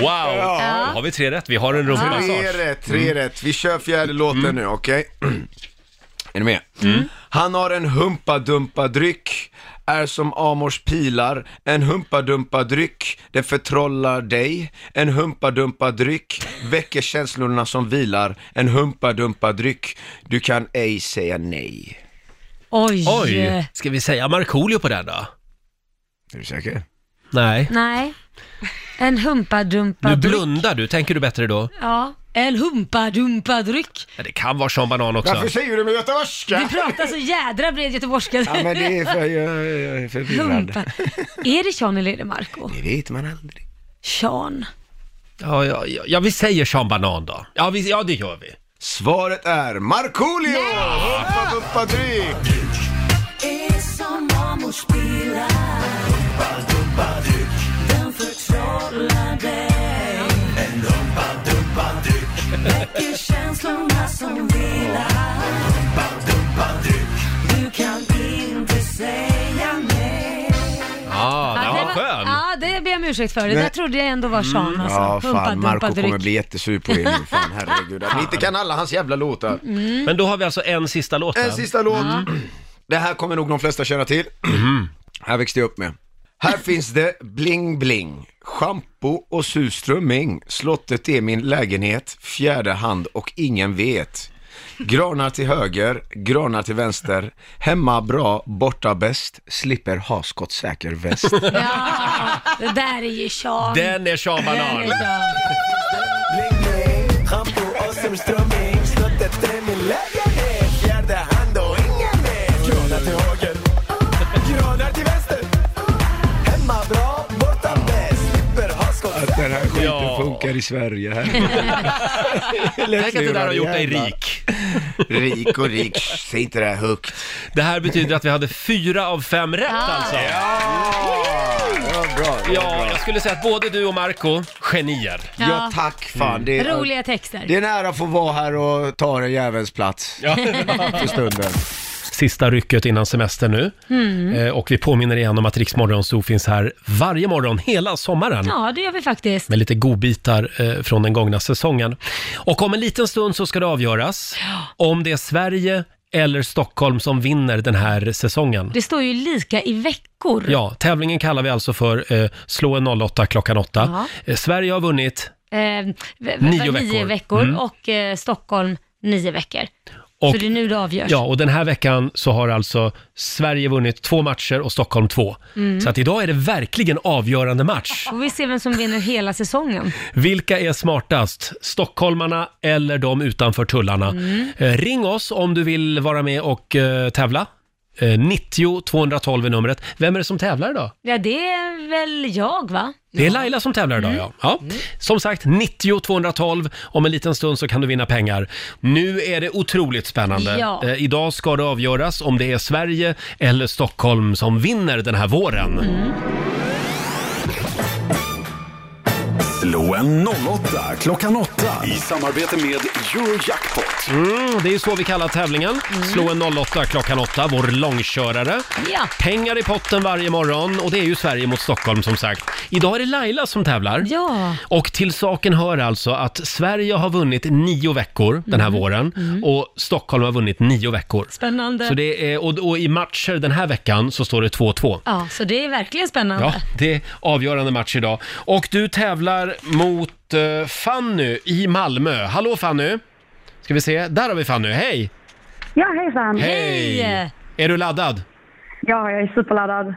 S1: Wow!
S11: Ja.
S1: Har vi tre rätt? Vi har en rumpmassage.
S11: Tre rätt, tre
S1: Mm.
S11: rätt. Vi kör fjärde låten nu, okej? är ni med?
S7: Mm.
S11: Han har en humpadumpadryck, är som Amors pilar, en humpadumpadryck, det förtrollar dig, en humpadumpadryck, väcker känslorna som vilar, en humpadumpadryck, du kan ej säga nej.
S3: Oj.
S1: Oj! Ska vi säga Markoolio på den då?
S11: Är du säker?
S1: Nej.
S3: Nej. En humpadumpa.
S1: Nu blundar du, tänker du bättre då?
S3: Ja. En humpadumpadryck.
S1: Ja, det kan vara Sean Banan också.
S11: säger du med göteborgska?
S3: Vi pratar så jädra bred göteborgska.
S11: jag är
S3: Humpa. Är det Sean eller är det Marco?
S11: Det vet man aldrig.
S3: Sean.
S1: Ja, ja, ja, ja, vi säger Sean Banan då. Ja, vi, ja det gör vi.
S11: Svaret är Markoolio! Humpadumpadryck!
S7: Är som mammors bilar. Den förtrollar dig. En dumpa-dumpa-dryck. Väcker känslorna som vilar. Du kan inte säga nej.
S1: Ja, den var
S3: det
S1: skön.
S3: Ja, det ber jag om ursäkt för det.
S11: Nej.
S3: Där trodde jag ändå var
S1: Mm.
S3: Sean alltså.
S11: Ja, fan, Marco
S3: dryck.
S11: kommer bli jättesur på er nu, fan herregud. Att ni inte kan alla hans jävla låtar.
S3: Mm.
S1: Men då har vi alltså en sista låt
S11: En sista låt.
S8: Mm.
S11: Det här kommer nog de flesta känna till.
S1: Mm.
S11: Här växte jag upp med. Här finns det bling bling, schampo och surströmming. Slottet är min lägenhet, fjärde hand och ingen vet. Granar till höger, granar till vänster. Hemma bra, borta bäst, slipper ha skottsäker väst.
S3: Ja, det där är ju Sean.
S11: Den är Sean Banan.
S3: Den är Sean.
S12: Shampoo och surströmming, snuttet är min lägenhet. Fjärde hand och ingen vet. Granar till höger, granar till vänster. Hemma bra, borta bäst. Slipper ha skott.
S11: Att den här skiten
S12: Ja.
S11: funkar i Sverige. Tänk
S1: att det där har gjort dig rik.
S11: Rik och rik, säg inte det här högt.
S1: Det här betyder att vi hade fyra av fem rätt
S3: Ah.
S1: alltså.
S11: Bra,
S1: Ja, jag skulle säga att både du och Marco genier.
S3: Ja. Ja,
S11: tack, fan. Det är-
S3: Roliga texter.
S11: Det är nära att få vara här och ta den jävelns plats.
S3: Ja.
S11: För stunden.
S1: Sista rycket innan semestern nu.
S3: Mm.
S1: Eh, Och vi påminner igen om att Riksmorgon Zoo finns här varje morgon hela sommaren.
S3: Ja, det gör vi faktiskt.
S1: Med lite godbitar eh, från den gångna säsongen. Och om en liten stund så ska det avgöras om det är Sverige eller Stockholm som vinner den här säsongen.
S3: Det står ju lika i veckor.
S1: Ja, tävlingen kallar vi alltså för eh, Slå en 08 klockan 8.
S3: Ja.
S1: Eh, Sverige har vunnit
S3: Eh, v- v-
S1: Nio
S3: nio
S1: veckor.
S3: veckor,
S1: Mm.
S3: och eh, Stockholm nio veckor.
S1: Och-
S3: Så det är nu det avgörs.
S1: Ja, och den här veckan så har alltså Sverige vunnit två matcher och Stockholm två.
S3: Mm.
S1: Så att idag är det verkligen avgörande match.
S3: Får vi se vem som vinner hela säsongen.
S1: Vilka är smartast? Stockholmarna eller de utanför tullarna?
S3: Mm.
S1: Eh, ring oss om du vill vara med och eh, tävla. Eh, 90 212 är numret. Vem är det som tävlar idag?
S3: Ja, det är väl jag va?
S1: Det är Laila som tävlar idag,
S3: Mm.
S1: ja. ja. Som sagt, 90 212. Om en liten stund så kan du vinna pengar. Nu är det otroligt spännande.
S3: Ja.
S1: Eh, idag ska det avgöras om det är Sverige eller Stockholm som vinner den här våren.
S3: Mm.
S4: Slå en 08 klockan 8 i samarbete med Eurojackpot.
S1: Mm, det är så vi kallar tävlingen.
S3: Mm.
S1: Slå en 08 klockan 8, vår långkörare.
S3: Ja.
S1: Pengar i potten varje morgon och det är ju Sverige mot Stockholm som sagt. Idag är det Laila som tävlar.
S3: Ja.
S1: Och till saken hör alltså att Sverige har vunnit nio veckor den här
S3: Mm.
S1: våren
S3: Mm.
S1: och Stockholm har vunnit nio veckor.
S3: Spännande.
S1: Så det är, och, och i matcher den här veckan så står det 2-2.
S3: Ja, så det är verkligen spännande.
S1: Ja, det är avgörande match idag. Och du tävlar mot eh, Fanny i Malmö. Hallå Fanny! Ska vi se, där har vi Fanny. Hej!
S6: Ja, hejsan.
S1: Är du laddad?
S6: Ja, jag är superladdad.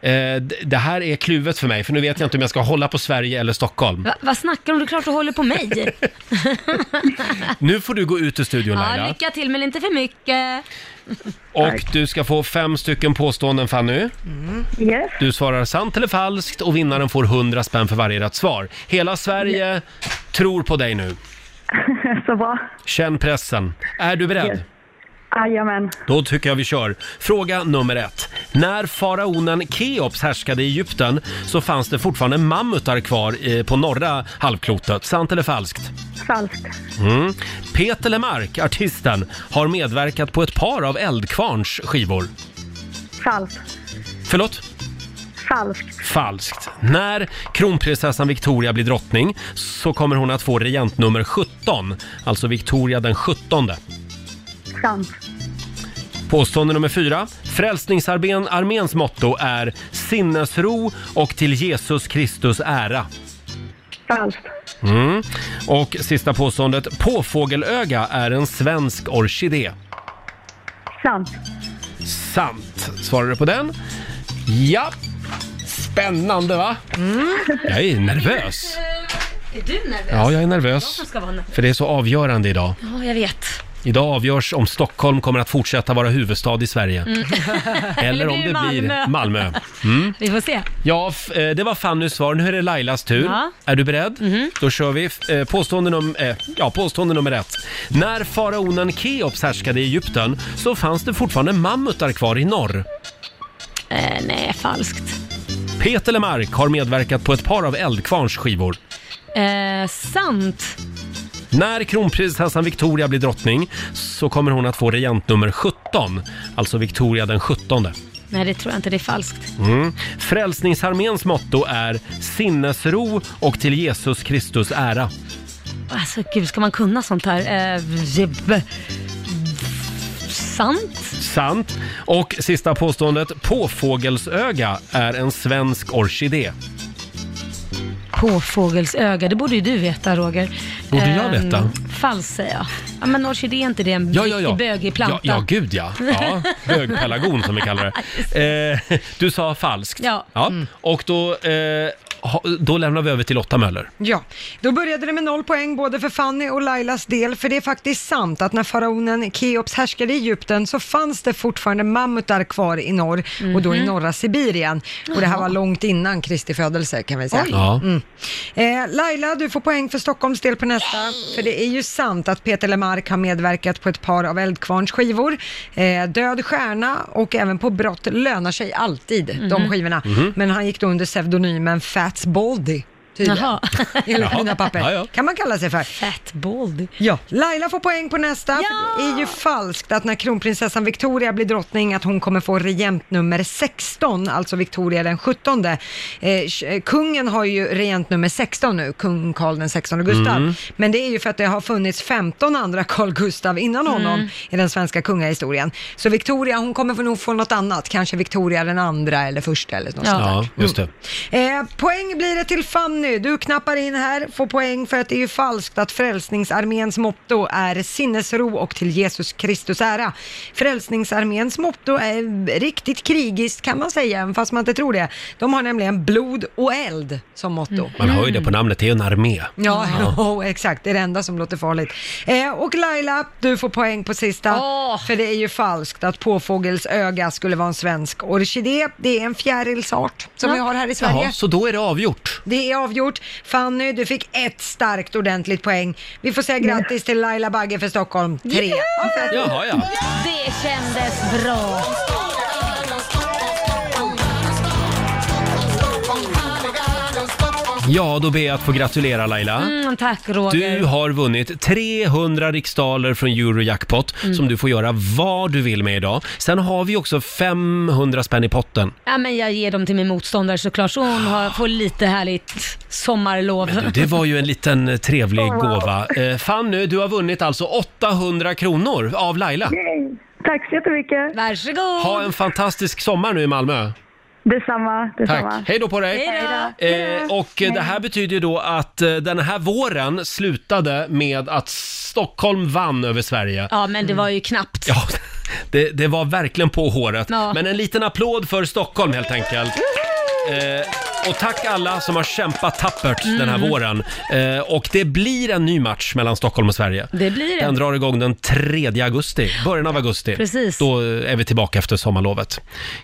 S1: Eh, d- det här är kluvet för mig, för nu vet jag inte om jag ska hålla på Sverige eller Stockholm.
S3: Va, vad snackar du om? Det är klart du håller på mig.
S1: Nu får du gå ut ur studion
S3: ja,
S1: Laila.
S3: lycka till men inte för mycket.
S1: Och du ska få fem stycken påståenden Fanny.
S6: Mm. Yes.
S1: Du svarar sant eller falskt och vinnaren får 100 spänn för varje rätt svar. Hela Sverige tror på dig nu.
S6: Så bra.
S1: Känn pressen. Är du beredd?
S6: Yes. Jajamän.
S1: Då tycker jag vi kör. Fråga nummer ett. När faraonen Keops härskade i Egypten så fanns det fortfarande mammutar kvar eh, på norra halvklotet. Sant eller falskt?
S6: Falskt.
S1: Mm. Peter Lemark, artisten, har medverkat på ett par av Eldkvarns skivor.
S6: Falskt.
S1: Förlåt?
S6: Falskt.
S1: Falskt. När kronprinsessan Victoria blir drottning så kommer hon att få regentnummer 17, alltså Victoria den 17.
S6: Sant.
S1: Påstående nummer fyra. Frälsningsarmén- arméns motto är sinnesro och till Jesus Kristus ära.
S6: Falskt.
S1: Mm. Och sista påståendet. Påfågelöga är en svensk orkidé.
S6: Sant.
S1: Sant. Svarar du på den? Ja. Spännande va? Mm. Jag är nervös.
S3: Är du nervös?
S1: Ja, jag är
S3: Jag
S1: nervös.
S3: som ska vara nervös.
S1: För det är så avgörande idag.
S3: Ja, jag vet.
S1: Idag avgörs om Stockholm kommer att fortsätta vara huvudstad i Sverige.
S3: Mm.
S1: Eller om det blir Malmö. Mm.
S3: Vi får se.
S1: Ja, f- eh, det var Fannys svar. Nu är det Lailas tur.
S3: Ja. Mhm.
S1: Är du beredd? Då kör vi. F- eh, Påstående, num- eh, ja, påstående nummer ett. När faraonen Keops härskade i Egypten så fanns det fortfarande mammutar kvar i norr.
S3: Eh, nej, falskt.
S1: Peter Lemark har medverkat på ett par av Eldkvarns skivor.
S3: Eh, sant.
S1: När kronprinsessan Victoria blir drottning så kommer hon att få regentnummer 17, alltså Victoria den 17.
S3: Nej, det tror jag inte. Det är falskt.
S1: Mm. Frälsningsarméns motto är sinnesro och till Jesus Kristus ära.
S3: Alltså gud, ska man kunna sånt här? Eh, jeb- sant?
S1: Sant. Och sista påståendet, påfågelsöga är en svensk orkidé.
S3: Påfågelsöga, det borde ju du veta Roger.
S1: Borde jag
S3: Ehm,
S1: veta?
S3: Falskt säger jag. Ja, men orkidé är inte det
S2: Mm,
S3: en
S1: Ja, ja, ja.
S3: bögig planta?
S1: Ja, ja gud ja. ja. Bögpelargon som vi kallar det. Eh, du sa falskt.
S2: Ja. Mm.
S1: Och då, eh, ha, då lämnar vi över till Lotta Möller.
S2: Ja, då började det med noll poäng både för Fanny och Lailas del, för det är faktiskt sant att när faraonen Keops härskade i Egypten så fanns det fortfarande mammutar kvar i norr och då i
S13: Mhm.
S2: norra Sibirien. Och det här var
S13: Jaha.
S2: långt innan Kristi födelse kan vi säga.
S13: Oj. Ja.
S2: Mm. Eh, Laila, du får poäng för Stockholms del på nästa, för det är ju sant att Peter Lemark har medverkat på ett par av Eldkvarns skivor. Eh, Död stjärna och även på Brott lönar sig alltid, de
S13: Mhm.
S2: skivorna.
S13: Mhm.
S2: Men han gick då under pseudonymen Fats Baldy. Tydligen.
S13: Jaha.
S2: Enligt
S13: Jaha.
S2: mina papper.
S13: Ja, ja.
S2: Kan man kalla sig för.
S3: Fat Baldy.
S2: Ja. Laila får poäng på nästa. för Det är ju falskt att när kronprinsessan Victoria blir drottning att hon kommer få regent nummer 16, alltså Victoria den 17. Eh, sh- eh, kungen har ju regent nummer 16 nu, kung Karl den 16 Gustav.
S13: Mm.
S2: Men det är ju för att det har funnits 15 andra Carl Gustav innan honom
S13: Mm.
S2: i den svenska kungahistorien. Så Victoria, hon kommer nog få något annat, kanske Victoria den andra eller första eller något sånt där.
S1: ja just det.
S2: Eh, poäng blir det till Fanny. Du knappar in här, får poäng för att det är ju falskt att Frälsningsarméns motto är sinnesro och till Jesus Kristus ära. Frälsningsarméns motto är riktigt krigiskt kan man säga, även fast man inte tror det. De har nämligen blod och eld som motto.
S1: Mm. Man hör ju det på namnet, det är ju en armé.
S2: Mm. Ja, jo, exakt. Det är det enda som låter farligt. Eh, och Laila, du får poäng på sista. För det är ju falskt att påfågelsöga skulle vara en svensk orkidé. Det är en fjärilsart som vi har här i Sverige.
S1: Jaha, så då är det avgjort.
S2: Det är avgjort. Fanny, du fick ett starkt ordentligt poäng. Vi får säga grattis till Laila Bagge för Stockholm. Tre. av fem.
S1: Jaha, ja.
S3: Det kändes bra.
S1: Ja, då ber jag att få gratulera Laila.
S3: Mm, tack Roger.
S1: Du har vunnit 300 riksdaler från Eurojackpot
S3: Mm.
S1: som du får göra vad du vill med idag. Sen har vi också 500 spänn i potten.
S3: Ja, men jag ger dem till min motståndare såklart, så hon har, får lite härligt sommarlov.
S1: Du, Det var ju en liten eh, trevlig gåva. Eh, Fanny, du har vunnit alltså 800 kronor av Laila.
S6: Tack så jättemycket.
S3: Varsågod.
S1: Ha en fantastisk sommar nu i Malmö.
S6: Detsamma, detsamma.
S1: Tack. Hej då på dig.
S6: Hej då.
S1: Eh, och eh, det här betyder ju då att eh, den här våren slutade med att Stockholm vann över Sverige.
S3: Ja, men det var ju knappt.
S1: Ja, det, det var verkligen på håret.
S3: Ja.
S1: Men en liten applåd för Stockholm helt enkelt. Eh, och tack alla som har kämpat tappert den här
S3: Mm.
S1: våren. Eh, och det blir en ny match mellan Stockholm och Sverige.
S3: Det blir det.
S1: Den drar igång den 3 augusti, början av augusti.
S3: Precis.
S1: Då eh, är vi tillbaka efter sommarlovet.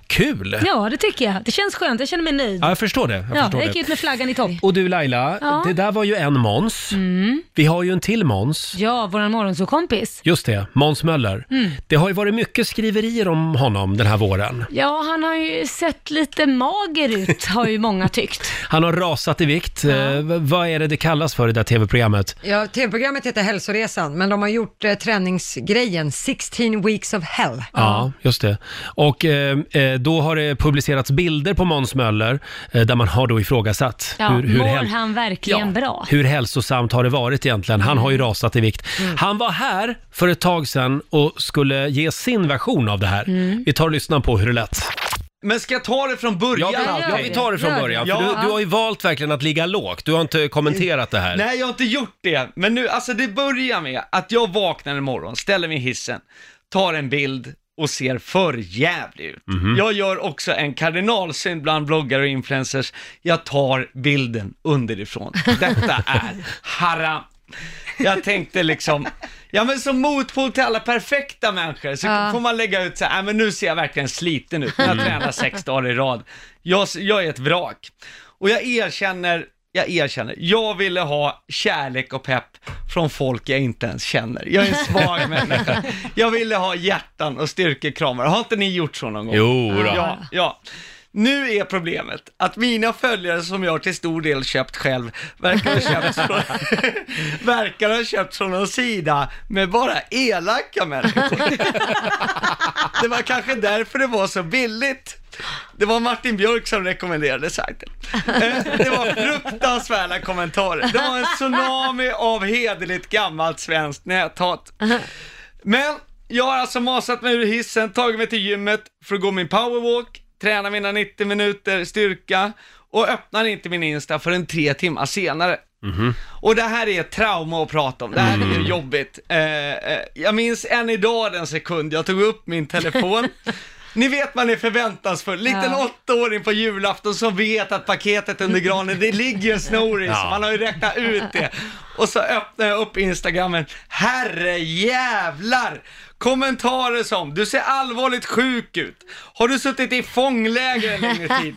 S1: Kul!
S3: Ja, det tycker jag. Det känns skönt. Jag känner mig nöjd.
S1: Ja, jag förstår det. Jag
S3: ja,
S1: förstår
S3: jag gick
S1: det.
S3: ut med flaggan i topp.
S1: Och du Laila,
S3: Ja.
S1: det där var ju en Måns.
S3: Mm.
S1: Vi har ju en till Måns.
S3: Ja, vår morgonsåkompis.
S1: Just det, Måns Möller.
S3: Mm.
S1: Det har ju varit mycket skriverier om honom den här våren.
S3: Ja, han har ju sett lite mager ut, har ju många tyckt.
S1: Han har rasat i vikt. Eh, v- vad är det det kallas för i det där tv-programmet?
S2: Ja, tv-programmet heter Hälsoresan, men de har gjort eh, träningsgrejen 16 weeks of hell.
S1: Ja, just det. Och eh, eh, då har det publicerats bilder på Måns Möller eh, där man har då ifrågasatt
S3: Ja, mår
S1: häl-
S3: han verkligen bra?
S1: hur hälsosamt har det varit egentligen. Han har ju rasat i vikt. Han var här för ett tag sedan och skulle ge sin version av det här.
S7: Mm.
S1: Vi tar och lyssnar på hur det lät.
S7: Men ska jag ta det från början?
S1: Ja, vi, ja, vi tar det från början. För
S7: Ja.
S1: du, du har ju valt verkligen att ligga lågt. Du har inte kommenterat det här.
S7: Nej, jag har inte gjort det. Men nu, alltså det börjar med att jag vaknar en morgon, ställer mig i hissen, tar en bild och ser för jävlig ut.
S1: Mhm.
S7: Jag gör också en kardinalsynd bland bloggare och influencers. Jag tar bilden underifrån. Detta är haram. Jag tänkte liksom, ja men som motpol till alla perfekta människor så
S10: Ja.
S7: får man lägga ut så här, "Nej, men nu ser jag verkligen sliten ut, jag
S10: Mm.
S7: tränar sex dagar i rad. Jag, jag är ett vrak. Och jag erkänner, jag erkänner, jag ville ha kärlek och pepp från folk jag inte ens känner. Jag är en svag människa. Jag ville ha hjärtan och styrkekramar. Har inte ni gjort så någon gång?
S1: Jo då.
S7: Ja, ja.
S13: Nu är problemet att mina följare som jag till stor del köpt själv verkar ha köpt från, verkar ha köpt från en sida med bara elaka människor. Det var kanske därför det var så billigt. Det var Martin Björk som rekommenderade sajten. Eh, Det var fruktansvärda kommentarer. Det var en tsunami av hederligt gammalt svenskt näthat. Men jag har alltså masat mig ur hissen, tagit mig till gymmet för att gå min powerwalk, träna mina 90 minuter styrka och öppnar inte min Insta förrän tre timmar senare. Och det här är ett trauma att prata om, det här är
S7: Mm.
S13: jobbigt. Eh, eh, jag minns än idag den sekund jag tog upp min telefon. Ni vet man är förväntansfull, liten
S7: Ja.
S13: åttaåring på julafton som vet att paketet under granen, det ligger en snoris,
S7: Ja.
S13: man har ju räknat ut det. Och så öppnar jag upp instagrammen, herre jävlar! Kommentarer som, du ser allvarligt sjuk ut, har du suttit i fångläger en längre tid?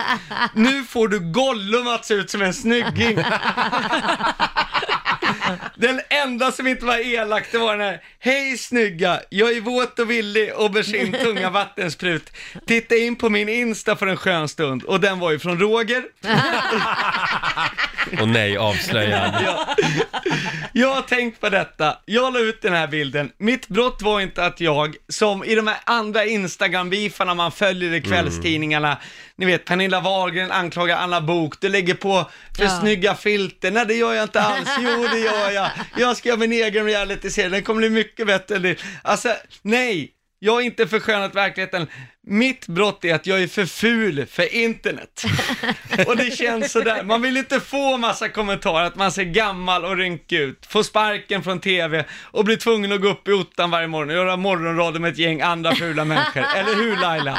S13: Nu får du Gollum att se ut som en snygging. Den enda som inte var elak, det var den här. Hej snygga, jag är våt och villig, aubergine, tunga, vattensprut. Titta in på min Insta för en skön stund. Och den var ju från Roger.
S1: Och nej, avslöjad.
S13: Jag har tänkt på detta. Jag la ut den här bilden. Mitt brott var inte att jag, som i de här andra Instagram-beefarna man följer i kvällstidningarna, ni vet Pernilla Wahlgren anklagar Anna Bok, du lägger på för
S7: Ja.
S13: snygga filter. Nej, det gör jag inte alls. Jo, det gör jag. Jag ska göra min egen realityserie, den kommer bli mycket bättre. än din. Alltså, nej. Jag har inte förskönat verkligheten. Mitt brott är att jag är för ful för internet. Och det känns sådär. Man vill inte få massa kommentarer att man ser gammal och rynkig ut, få sparken från TV och blir tvungen att gå upp i ottan varje morgon och göra morgonradio med ett gäng andra fula människor. Eller hur Laila?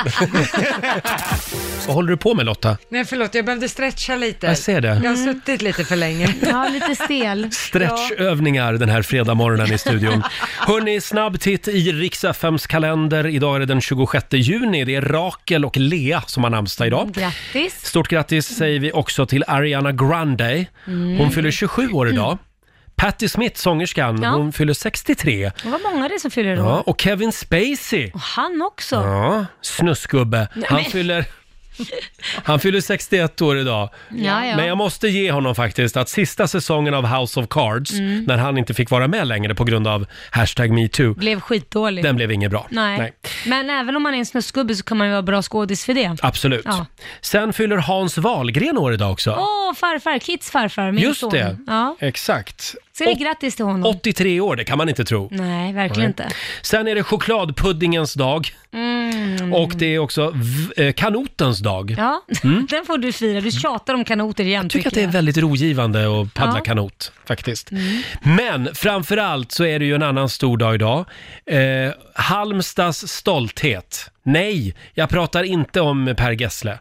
S1: Vad håller du på med Lotta?
S2: Nej, förlåt, jag behövde stretcha lite.
S1: Jag ser det.
S2: Jag har suttit lite för länge.
S3: Ja, lite stel.
S1: Stretchövningar den här fredagmorgonen i studion. Hörni, snabb titt i riks kalender. Idag är det den 26 juni. Det är Rakel och Lea som har namnsdag
S7: Mm.
S1: idag.
S3: Grattis.
S1: Stort grattis säger vi också till Ariana Grande. Hon
S3: Mm.
S1: fyller 27 år idag. Patti Smith, sångerskan,
S3: Ja.
S1: hon fyller 63.
S3: Det var många det som fyller
S1: Ja,
S3: år.
S1: och Kevin Spacey.
S3: Och han också.
S1: Ja, snuskgubbe.
S3: Nej,
S1: Han
S3: men-
S1: fyller, han fyller 61 år idag.
S3: Ja, ja.
S1: Men jag måste ge honom faktiskt att sista säsongen av House of Cards,
S3: Mm.
S1: när han inte fick vara med längre på grund av hashtag metoo,
S3: Blev skitdålig.
S1: den blev inget bra.
S3: Nej. Men även om man är en snuskgubbe så kan man ju vara bra skådis för det.
S1: Absolut.
S3: Ja.
S1: Sen fyller Hans Wahlgren år idag också.
S3: Åh, farfar, Kits farfar, min
S1: Just
S3: son.
S1: det.
S3: Ja.
S1: Exakt.
S3: Så det är
S1: Och-
S3: grattis till honom.
S1: 83 år, det kan man inte tro.
S3: Nej, verkligen
S1: Nej.
S3: inte.
S1: Sen är det chokladpuddingens dag
S3: Mm.
S1: och det är också v- eh, kanotens dag.
S3: Ja,
S1: Mm.
S3: den får du fira. Du tjatar om kanoter igen,
S1: tycker att det är väldigt rogivande att paddla
S3: Ja. Mm.
S1: kanot faktiskt. Men framför allt så är det ju en annan stor dag idag. Eh, Halmstads stolthet. Nej, jag pratar inte om Per Gessle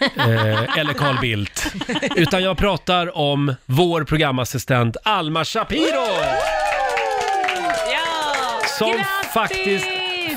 S1: eh, eller Carl Bildt, utan jag pratar om vår programassistent Alma Shapiro som faktiskt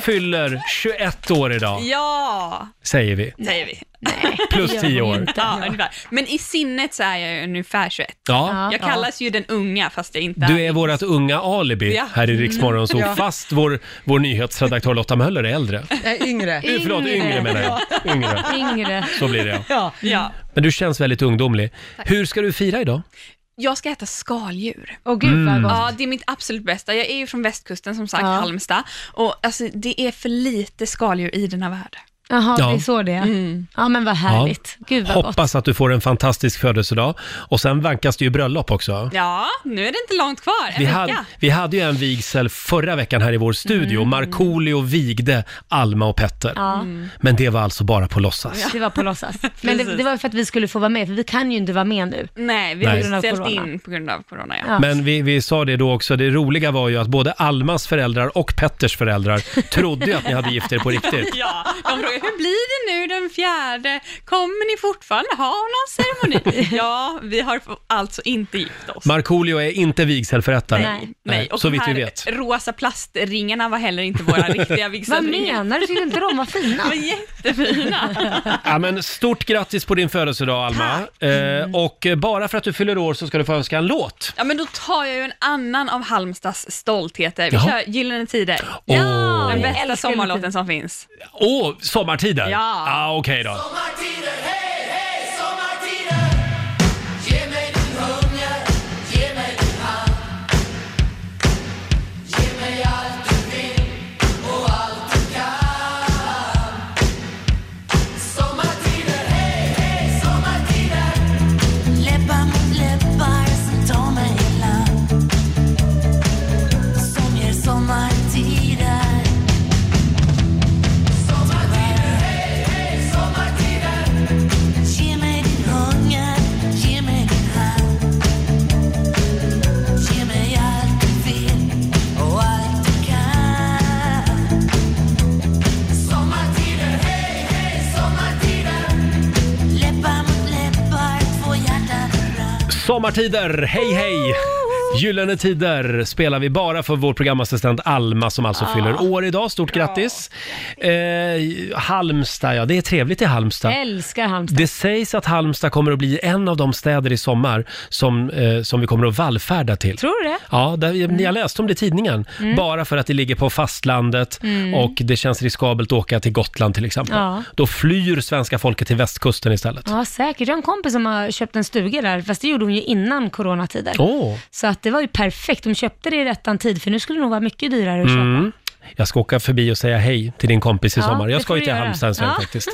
S1: fyller 21 år idag,
S14: Ja,
S1: säger vi.
S14: säger vi.
S1: Plus
S14: Det gör
S1: 10
S14: hon
S1: år.
S14: inte. Ja, ungefär. Men i sinnet så är jag ju ungefär 21.
S1: Ja.
S14: Jag
S1: Ja.
S14: kallas ju den unga fast jag inte
S1: Du är vårt unga alibi
S14: Ja.
S1: här i Riksmorgon, så
S14: Ja.
S1: fast vår, vår nyhetsredaktör Lotta Möller är äldre.
S2: Äh, yngre.
S1: Eh, förlåt, yngre menar jag. Yngre.
S3: Yngre.
S1: Så blir det
S2: ja.
S14: ja.
S1: Men du känns väldigt ungdomlig. Hur ska du fira idag?
S14: Jag ska äta skaldjur.
S3: Åh
S1: gud, vad Mm. gott.
S14: Ja, det är mitt absolut bästa. Jag är ju från västkusten som sagt,
S3: Ja.
S14: Halmstad. Och alltså, det är för lite skaldjur i Mm. den här världen.
S3: Jaha,
S1: Ja.
S3: det är så det är. Ja, men vad härligt. Gud vad gott.
S1: Hoppas att du får en fantastisk födelsedag. Och sen vankas det ju bröllop också.
S14: Ja, nu är det inte långt kvar. En
S1: Vi
S14: vecka.
S1: hade, vi hade ju en vigsel förra veckan här i vår studio.
S14: Mm.
S1: Markoolio vigde Alma och Petter.
S3: Ja.
S1: Men det var alltså bara på låtsas.
S3: Det var på låtsas. Men det,
S14: Precis.
S3: det var för att vi skulle få vara med, för vi kan ju inte vara med nu.
S14: Nej, vi
S1: Nej.
S14: har ju
S1: På grund av
S14: ställt
S3: corona.
S14: in på grund av corona. Ja.
S1: Men vi, vi sa det då också, det roliga var ju att både Almas föräldrar och Petters föräldrar trodde ju att ni hade gift er på riktigt.
S14: Ja, de frågar hur blir det nu den fjärde? Kommer ni fortfarande ha någon ceremoni? Ja, vi har alltså inte gift oss.
S1: Markoolio är inte vigselförrättare.
S14: Nej, och
S1: så
S14: de
S1: vitt vi
S14: här
S1: vet.
S14: rosa plastringarna var heller inte våra riktiga
S3: Vad
S14: vigselringar.
S3: menar du? Tyckte inte de var fina?
S14: De var jättefina.
S1: Ja, men stort grattis på din födelsedag, Alma. Eh, och eh, bara för att du fyller år så ska du få önska en låt.
S14: Ja, men då tar jag ju en annan av Halmstads stoltheter. Vi
S1: Jaha.
S14: kör Gyllene Tider.
S1: Åh.
S14: Den bästa sommarlåten som finns.
S1: Åh, sommartider?
S7: Ja.
S1: Ah, Okej då.
S7: Sommartider, hej, hej, sommartider! Ge mig din hunger, ge mig din hand. Ge mig allt du vill och allt du kan. Sommartider, hej, hej, sommartider! Läppar mot läppar som tar mig i land. Som ger sommartider. Sommartider, hej, hej, sommartider! Ge mig din hunger, ge mig din hand. Ge mig allt du vill och allt du kan. Sommartider, hej, hej, sommartider. Läppar mot läppar, två hjärtan i brand.
S1: Sommartider, hej hej! Gyllene tider spelar vi bara för vår programassistent Alma som alltså
S14: Ah.
S7: Ja.
S1: fyller år idag. Stort grattis! Eh, Halmstad, ja det är trevligt i Halmstad.
S3: Älskar Halmstad.
S1: Det sägs att Halmstad kommer att bli en av de städer i sommar som, eh, som vi kommer att vallfärda till.
S3: Tror du det?
S1: Ja, där, jag läste om det i tidningen.
S3: Mm.
S1: Bara för att det ligger på fastlandet
S3: Mm.
S1: och det känns riskabelt att åka till Gotland till exempel.
S3: Ja.
S1: Då flyr svenska folket till västkusten istället.
S3: Ja, säkert. Jag har en kompis som har köpt en stuga där, fast det gjorde hon ju innan coronatider.
S1: Åh.
S3: Så att det var ju perfekt. De köpte det i rättan tid, för nu skulle det nog vara mycket dyrare att köpa.
S1: Mm. Jag ska åka förbi och säga hej till din kompis i
S3: Ja,
S1: sommar. Jag
S3: det
S1: ska
S3: får
S1: ju
S3: du
S1: till
S3: göra.
S1: Halmstad en sväng
S3: Ja.
S1: faktiskt.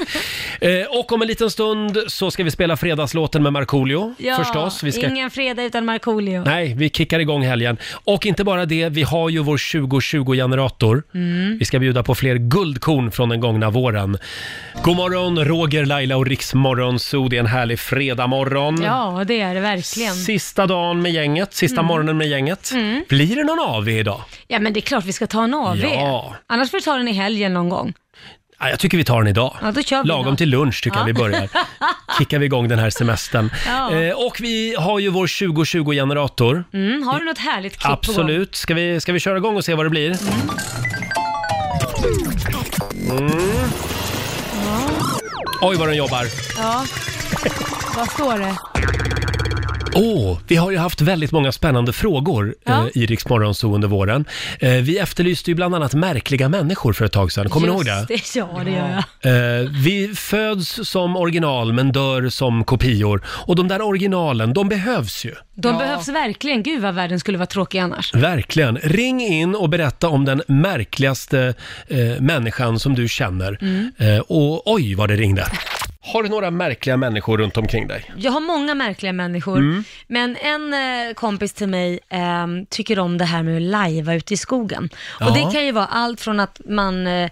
S1: Eh, och om en liten stund så ska vi spela fredagslåten med Markoolio
S3: Ja,
S1: förstås. Vi ska...
S3: ingen fredag utan Markoolio.
S1: Nej, vi kickar igång helgen. Och inte bara det, vi har ju vår 2020-generator.
S3: Mm.
S1: Vi ska bjuda på fler guldkorn från den gångna våren. God morgon, Roger, Laila och Riksmorgon Zoo. Det är en härlig fredagmorgon.
S3: Ja, det är det verkligen.
S1: Sista dagen med gänget, sista
S3: Mm.
S1: morgonen med gänget.
S3: Mm.
S1: Blir det någon AW idag?
S3: Ja, men det är klart vi ska ta en AV.
S1: Ja.
S3: Annars får vi ta den i helgen någon gång.
S1: Ja, jag tycker vi tar den idag.
S3: Ja, då kör vi
S1: Lagom
S3: då.
S1: till lunch tycker
S3: Ja.
S1: jag vi börjar. Kickar vi igång den här semestern.
S3: Ja.
S1: Eh, och vi har ju vår 2020-generator.
S3: Mm, har du något härligt klipp på gång?
S1: Absolut. Ska vi, ska vi köra igång och se vad det blir? Mm. Oj, vad den jobbar.
S3: Ja. Vad står det?
S1: Åh, vi har ju haft väldigt många spännande frågor
S3: Ja.
S1: eh, i Rix Morgonzoo under våren. Eh, vi efterlyste ju bland annat märkliga människor för ett tag sedan. Kommer
S3: Just
S1: ni ihåg det?
S3: det? Ja, det gör jag.
S1: Eh, vi föds som original men dör som kopior. Och de där originalen, de behövs ju.
S3: De behövs verkligen. Gud vad världen skulle vara tråkig annars.
S1: Verkligen. Ring in och berätta om den märkligaste eh, människan som du känner.
S3: Mm.
S1: Eh, och oj vad det ringde. Har du några märkliga människor runt omkring dig?
S3: Jag har många märkliga människor,
S1: Mm.
S3: men en eh, kompis till mig eh, tycker om det här med att lajva ute i skogen.
S7: Ja.
S3: Och det kan ju vara allt från att man eh,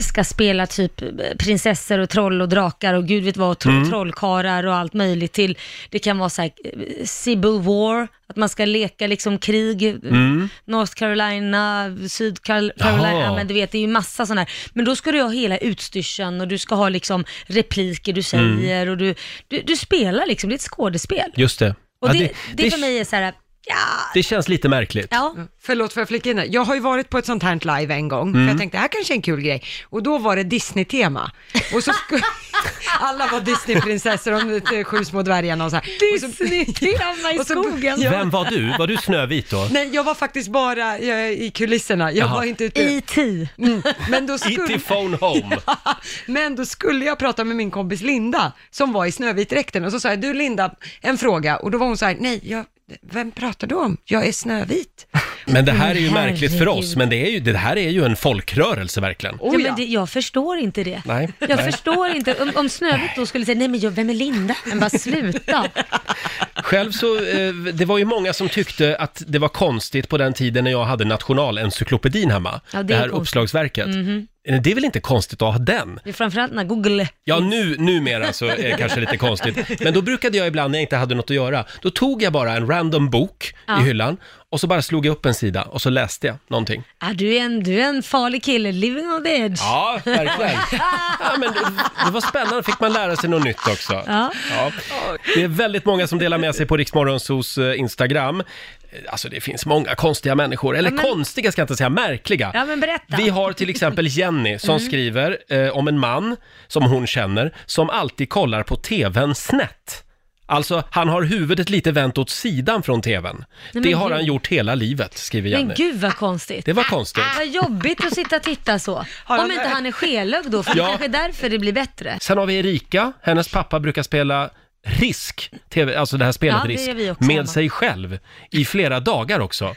S3: ska spela typ eh, prinsessor och troll och drakar och gud vet vad, och tro-
S7: Mm.
S3: trollkarlar och allt möjligt till, det kan vara så här, eh, civil war, att man ska leka liksom krig, eh,
S7: Mm.
S3: North Carolina, Syd Carol-
S7: Jaha.
S3: Carolina, ja, men du vet det är ju massa sådana här. Men då ska du ha hela utstyrseln och du ska ha liksom repliker du
S1: Mm.
S3: säger och du, du, du spelar liksom, det är ett skådespel.
S1: Just det.
S3: Och
S1: Ja,
S3: det, det,
S1: det, det,
S3: för mig är så här, ja,
S1: det känns lite märkligt.
S3: ja.
S2: Mm. Förlåt för jag flika in där. Jag har ju varit på ett sånt här live en gång,
S1: Mm.
S2: för jag tänkte det här kanske är en kul grej. Och då var det Disney-tema. Och så sku- alla var Disney-prinsessor och de eh, sju små dvärgarna och så här.
S3: Disney-tema i skogen.
S1: Vem var du? Var du Snövit då?
S2: Nej, jag var faktiskt bara eh, i kulisserna. Jag
S1: Jaha.
S2: var inte ute.
S3: E E.T.
S2: Mm. Men, då
S1: E.T.
S2: skulle,
S1: Phone Home.
S2: men då skulle jag prata med min kompis Linda, som var i Snövitdräkten. Och så sa jag, du Linda, en fråga. Och då var hon så här, nej, jag, vem pratar du om? Jag är Snövit.
S1: Men det här är ju
S2: Men
S1: märkligt för oss,
S2: herregud.
S1: men det, är ju, det här är ju en folkrörelse verkligen.
S3: ja, men det, jag förstår inte det.
S1: Nej,
S3: Jag
S1: Oh, nej.
S3: förstår inte, om, om Snövit då skulle säga, nej men jag, vem är Linda? Men bara sluta.
S1: Själv så, eh, det var ju många som tyckte att det var konstigt på den tiden när jag hade Nationalencyklopedin hemma.
S3: Ja, det
S1: det,
S3: är
S1: här
S3: konstigt.
S1: uppslagsverket.
S3: Mhm.
S1: Eh, Det är väl inte konstigt att ha den?
S3: Det är framförallt när Google,
S1: Ja, nu, numera så är det kanske lite konstigt. Men då brukade jag ibland när jag inte hade något att göra, då tog jag bara en random bok
S3: Ja.
S1: i hyllan och så bara slog jag upp en sida och så läste jag någonting.
S3: ah, du, är en, du är en farlig kille, living on the edge.
S1: Ja, verkligen. Ja, men det, det var spännande, fick man lära sig något nytt också.
S3: Ja.
S1: Ja. Det är väldigt många som delar med sig på Riksmorgonsos Instagram. Alltså det finns många konstiga människor, eller
S3: Ja, men-
S1: konstiga ska jag inte säga, märkliga.
S3: Ja men berätta.
S1: Vi har till exempel Jenny som
S3: Mm.
S1: skriver eh, om en man som hon känner som alltid kollar på TVn snett. Alltså, han har huvudet lite vänt åt sidan från tvn.
S3: men
S1: det har
S3: gud.
S1: han gjort hela livet, skriver Jenny.
S3: Men gud Ah, vad konstigt.
S1: Det var konstigt.
S3: Vad jobbigt att sitta och titta så. Om inte han är skelögd då, för
S1: Ja.
S3: det kanske är därför det blir bättre.
S1: Sen har vi Erika, hennes pappa brukar spela Risk, TV, alltså det här spelet
S3: Ja, det
S1: Risk,
S3: gör vi också,
S1: med
S3: Emma.
S1: sig själv i flera dagar också.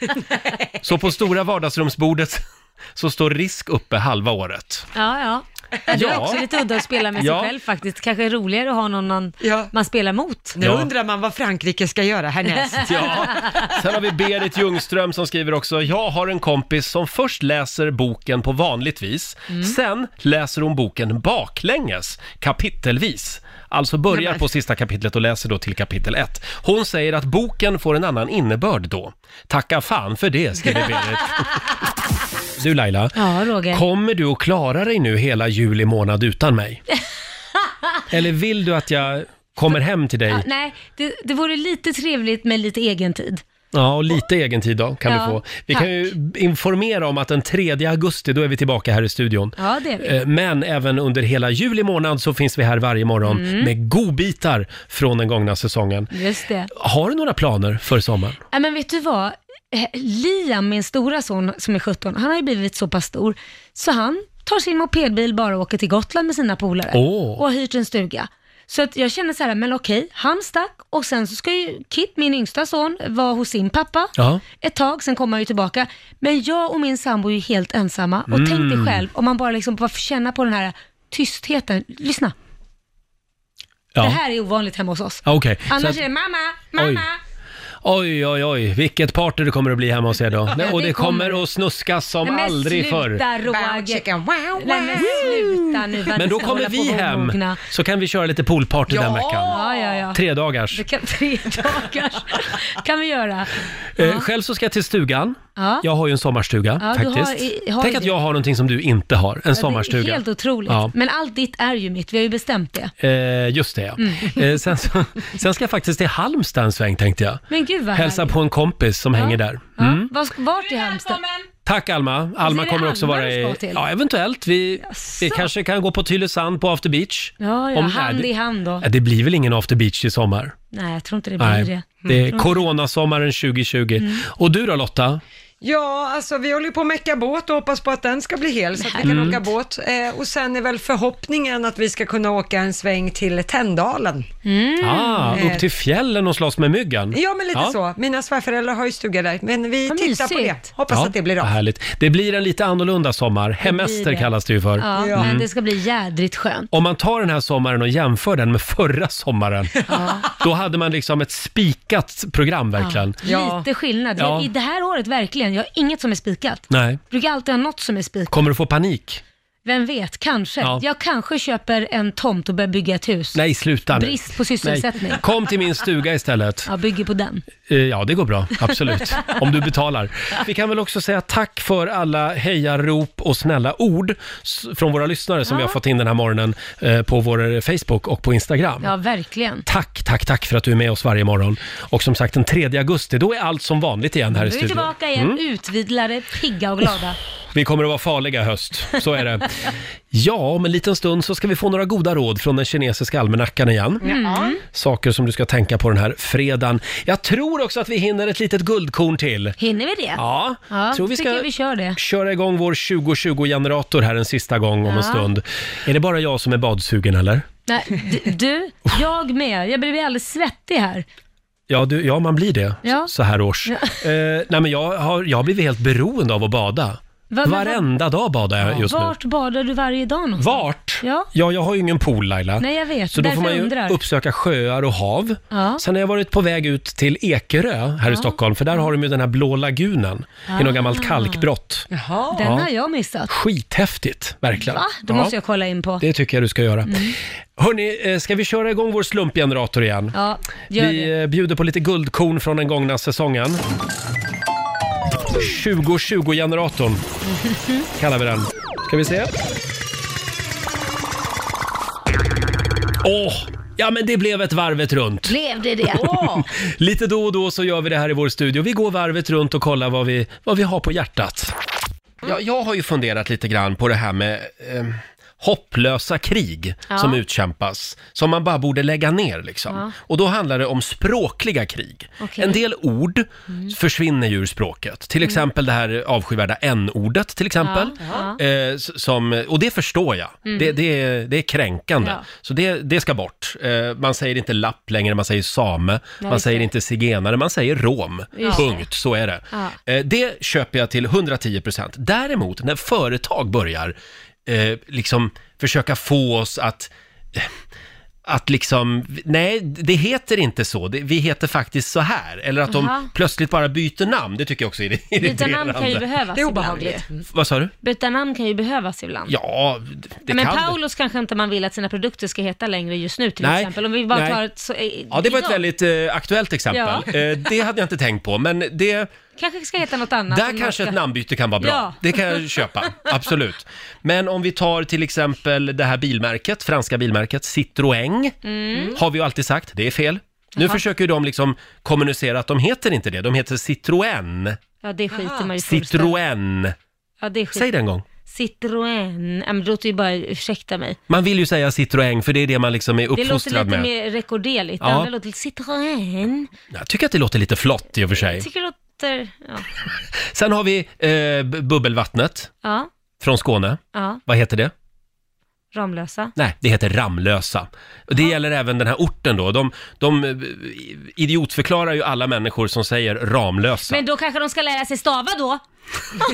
S1: Så på stora vardagsrumsbordet så står Risk uppe halva året.
S3: Ja, ja. Det är
S1: Ja.
S3: också lite udda att spela med sig
S1: Ja.
S3: själv faktiskt. Kanske är roligare att ha någon man, man spelar mot.
S1: Nu Ja. undrar
S2: man vad Frankrike ska göra härnäst.
S1: Ja. Sen har vi Berit Ljungström som skriver också, jag har en kompis som först läser boken på vanligt vis,
S3: Mm.
S1: sen läser hon boken baklänges, kapitelvis. Alltså börjar
S15: Nämen.
S1: på sista kapitlet och läser då till kapitel 1. Hon säger att boken får en annan innebörd då. Tacka fan för det, skriver Berit. Du Laila,
S3: Ja, Roger.
S1: kommer du att klara dig nu hela juli månad utan mig? Eller vill du att jag kommer hem till dig?
S3: Ja, nej, det, det vore lite trevligt med lite egen tid.
S1: Ja, och lite egen tid då kan
S3: Ja,
S1: du få. Vi kan ju informera om att den 3 augusti, då är vi tillbaka här i studion.
S3: Ja, det är vi.
S1: Eh, Men även under hela juli månad så finns vi här varje morgon
S3: Mm.
S1: med godbitar från den gångna säsongen.
S3: Just det.
S1: Har du några planer för sommaren?
S3: Ja, men vet du vad? Eh, Liam, min stora son som är 17, han har ju blivit så pass stor, så han tar sin mopedbil bara och åker till Gotland med sina polare
S16: Åh.
S3: och har hyrt en stuga. Så att jag känner så här, men okej, han stack och sen så ska ju Kit, min yngsta son, vara hos sin pappa
S16: Ja.
S3: ett tag, sen kommer han ju tillbaka. Men jag och min sambo är ju helt ensamma och
S16: Mm.
S3: tänk dig själv om man bara liksom bara får känna på den här tystheten. Lyssna,
S1: Ja.
S3: det här är ovanligt hemma hos oss.
S1: Ja, Okej. Så
S3: Annars
S1: att-
S3: är det mamma, mamma.
S1: Oj, oj, oj, vilket party det kommer att bli hemma hos er då.
S3: Ja,
S1: Och
S3: det
S1: det kommer
S3: kommer.
S1: att snuskas som
S3: Nej, men
S1: aldrig
S3: sluta,
S1: förr.
S3: Roger. Nej, men sluta nu. vad
S1: Men då
S3: ni ska hålla
S1: kommer
S3: på
S1: vi
S3: och
S1: hem,
S3: mogna.
S1: så kan vi köra lite poolparty den veckan.
S3: Ja, ja, ja.
S1: Tre dagars.
S3: Det kan, tre dagars kan vi göra.
S1: Eh, själv så ska jag till stugan.
S3: Ja.
S1: Jag har ju en sommarstuga
S3: Ja, du har-
S1: faktiskt.
S3: i- har
S1: Tänk
S3: ju
S1: att
S3: det.
S1: jag har någonting som du inte har, en
S3: Ja,
S1: sommarstuga.
S3: Det är helt otroligt.
S1: Ja.
S3: Men allt ditt är ju mitt, vi har ju bestämt det.
S1: Eh, just det ja.
S3: Mm.
S1: Eh, sen, så, sen ska jag faktiskt till Halmstad en sväng tänkte jag.
S3: Men gud vad
S1: Hälsa
S3: härligt.
S1: på en kompis som hänger där. Mm.
S3: Ja, vars- Vart är Halmstad?
S1: Tack Alma. Alma
S3: är det
S1: kommer också
S3: Alma
S1: vara
S3: du
S1: i...
S3: ska till?
S1: Ja, eventuellt. Vi, vi kanske kan gå på Tylösand på after beach.
S3: Ja, ja,
S1: Om-
S3: hand
S1: nej,
S3: i hand då.
S1: det- Det blir väl ingen after beach i sommar?
S3: Nej, jag tror inte det Mm. blir
S1: Nej,
S3: det.
S1: det är
S3: Jag tror inte-
S1: coronasommaren 2020.
S2: Mm.
S1: Och du då Lotta?
S2: Ja, alltså vi håller ju på att mecka båt och hoppas på att den ska bli hel så att vi kan
S1: Mm.
S2: åka båt. Eh, och sen är väl förhoppningen att vi ska kunna åka en sväng till Tändalen.
S3: Mm.
S1: Ah,
S2: Eh,
S1: upp till fjällen och slåss med myggen?
S2: Ja, men lite så. Mina svärföräldrar har ju stuga där, men vi tittar på det. Hoppas
S1: Ja,
S2: att det blir
S1: vad
S2: av.
S1: Härligt. Det blir en lite annorlunda sommar. Hemester
S3: det.
S1: kallas det ju för.
S3: Ja, men
S1: Mm.
S3: det ska bli jädrigt skönt.
S1: Om man tar den här sommaren och jämför den med förra sommaren, då hade man liksom ett spikat program verkligen.
S3: Ja. Lite skillnad. Men
S1: Ja.
S3: I det här året verkligen, jag har inget som är spikat.
S1: Nej.
S3: Brukar alltid ha något som är spikat.
S1: Kommer du få panik?
S3: Vem vet, kanske.
S1: Ja.
S3: Jag kanske köper en tomt och börjar bygga ett hus.
S1: Nej, sluta nu.
S3: Brist på sysselsättning.
S1: Nej. Kom till min stuga istället.
S3: Jag bygger på den.
S1: Eh, Ja, det går bra. Absolut. Om du betalar. Vi kan väl också säga tack för alla hejarop och snälla ord s- från våra lyssnare som vi har fått in den här morgonen eh, på vår Facebook och på Instagram.
S3: Ja, verkligen.
S1: Tack, tack, tack för att du är med oss varje morgon. Och som sagt, den 3 augusti, då är allt som vanligt igen här i
S3: Nu är vi
S1: studion.
S3: tillbaka igen,
S1: Mm.
S3: utvidlade, pigga och glada.
S1: Vi kommer att vara farliga i höst, så är det. Ja, om en liten stund så ska vi få några goda råd från den kinesiska almanackan igen.
S3: Mm.
S1: Saker som du ska tänka på den här fredagen. Jag tror också att vi hinner ett litet guldkorn till.
S3: Hinner vi det?
S1: Ja,
S3: ja
S1: tror vi
S3: tycker
S1: ska
S3: vi kör det.
S1: köra igång vår 2020-generator här en sista gång om
S3: Ja.
S1: en stund. Är det bara jag som är badsugen eller?
S3: Nej, d- du, jag med. Jag blir alldeles svettig här.
S1: Ja, du, ja man blir det
S3: Ja.
S1: så här års. Eh, nej, men jag har, jag har blivit helt beroende av att bada.
S3: men vad-
S1: Varenda dag badar jag just nu.
S3: Vart badar du varje dag någonstans?
S1: Vart?
S3: Ja.
S1: Ja, jag har ju ingen pool Laila.
S3: Nej, jag vet.
S1: Så då får
S3: Därför
S1: man ju
S3: undrar.
S1: uppsöka sjöar och hav.
S3: Ja.
S1: Sen har jag varit på väg ut till Ekerö här i
S3: Ja.
S1: Stockholm, för där har de ju den här blå lagunen. Det är
S3: Ah.
S1: något gammalt kalkbrott.
S2: Jaha.
S3: Den
S1: Ja.
S3: har jag missat.
S1: Skithäftigt, verkligen.
S3: Va? Då måste jag kolla in på.
S1: Det tycker jag du ska göra.
S3: Mm.
S1: Hörni, eh, ska vi köra igång vår slumpgenerator igen?
S3: Ja, gör det.
S1: Vi eh, bjuder på lite guldkorn från den gångna säsongen. 2020-generatorn kallar vi den. Ska vi se. Åh! ja, men det blev ett varvet runt.
S3: Blev det det?
S1: Lite då och då så gör vi det här i vår studio. Vi går varvet runt och kollar vad vi, vad vi har på hjärtat. Jag, jag har ju funderat lite grann på det här med eh, hopplösa krig
S3: Ja.
S1: som utkämpas, som man bara borde lägga ner liksom.
S3: Ja.
S1: Och då handlar det om språkliga krig.
S3: Okej.
S1: En del ord försvinner ju ur språket, till
S3: Mm.
S1: exempel det här avskyvärda n-ordet till exempel.
S3: Ja,
S1: Eh, s- som, och det förstår jag.
S3: Mm.
S1: Det, det, är, det är kränkande.
S3: Ja.
S1: Så det, det ska bort. Eh, man säger inte lapp längre, man säger same, man
S3: just
S1: säger
S3: det.
S1: inte zigenare, man säger rom.
S3: Just det.
S1: Punkt, så är det.
S3: Ja.
S1: Eh, det köper jag till 110%. Däremot, när företag börjar eh, liksom försöka få oss att eh, att liksom, nej, det heter inte så, det, vi heter faktiskt så här. Eller att
S3: Jaha.
S1: de plötsligt bara byter namn, det tycker jag också är
S3: Byta
S1: irriterande.
S3: namn kan ju behövas
S2: Det är
S3: obehagligt. ibland.
S1: Vad sa du?
S3: Byta namn kan ju behövas ibland.
S1: Ja, det det
S3: men
S1: kan det.
S3: Paulus kanske inte man vill att sina produkter ska heta längre just nu till
S1: Nej.
S3: exempel. Om vi bara
S1: Nej.
S3: tar ett så, eh,
S1: Ja, det var ett
S3: idag.
S1: väldigt eh, aktuellt exempel.
S3: Ja.
S1: Eh, det hade jag inte tänkt på, men det,
S3: Kanske ska heta något annat.
S1: där
S3: än
S1: kanske ett
S3: norska.
S1: namnbyte kan vara bra.
S3: Ja.
S1: Det kan jag köpa, absolut. Men om vi tar till exempel det här bilmärket, franska bilmärket Citroën,
S3: Mm.
S1: har vi ju alltid sagt, det är fel. Nu försöker ju de liksom kommunicera att de heter inte det, de heter Citroën.
S3: Ja, det skiter man ju fullständigt
S1: Citroën.
S3: ja, det skiter-
S1: Säg det en gång.
S3: Citroën. Ja, men det låter ju bara, ursäkta mig.
S1: Man vill ju säga Citroën för det är det man liksom är
S3: Det låter lite
S1: uppfostrad med.
S3: mer rekorderligt. Det
S1: Ja.
S3: andra låter lite Citroën.
S1: Jag tycker att det låter lite flott i och för sig.
S3: Jag tycker det låter... Ja.
S1: Sen har vi eh, b- bubbelvattnet
S3: ja.
S1: från Skåne.
S3: Ja.
S1: Vad heter det?
S3: Ramlösa.
S1: Nej, det heter Ramlösa. Och det gäller även den här orten då. De, de eh, idiotförklarar ju alla människor som säger Ramlösa.
S3: Men då kanske de ska lära sig stava då?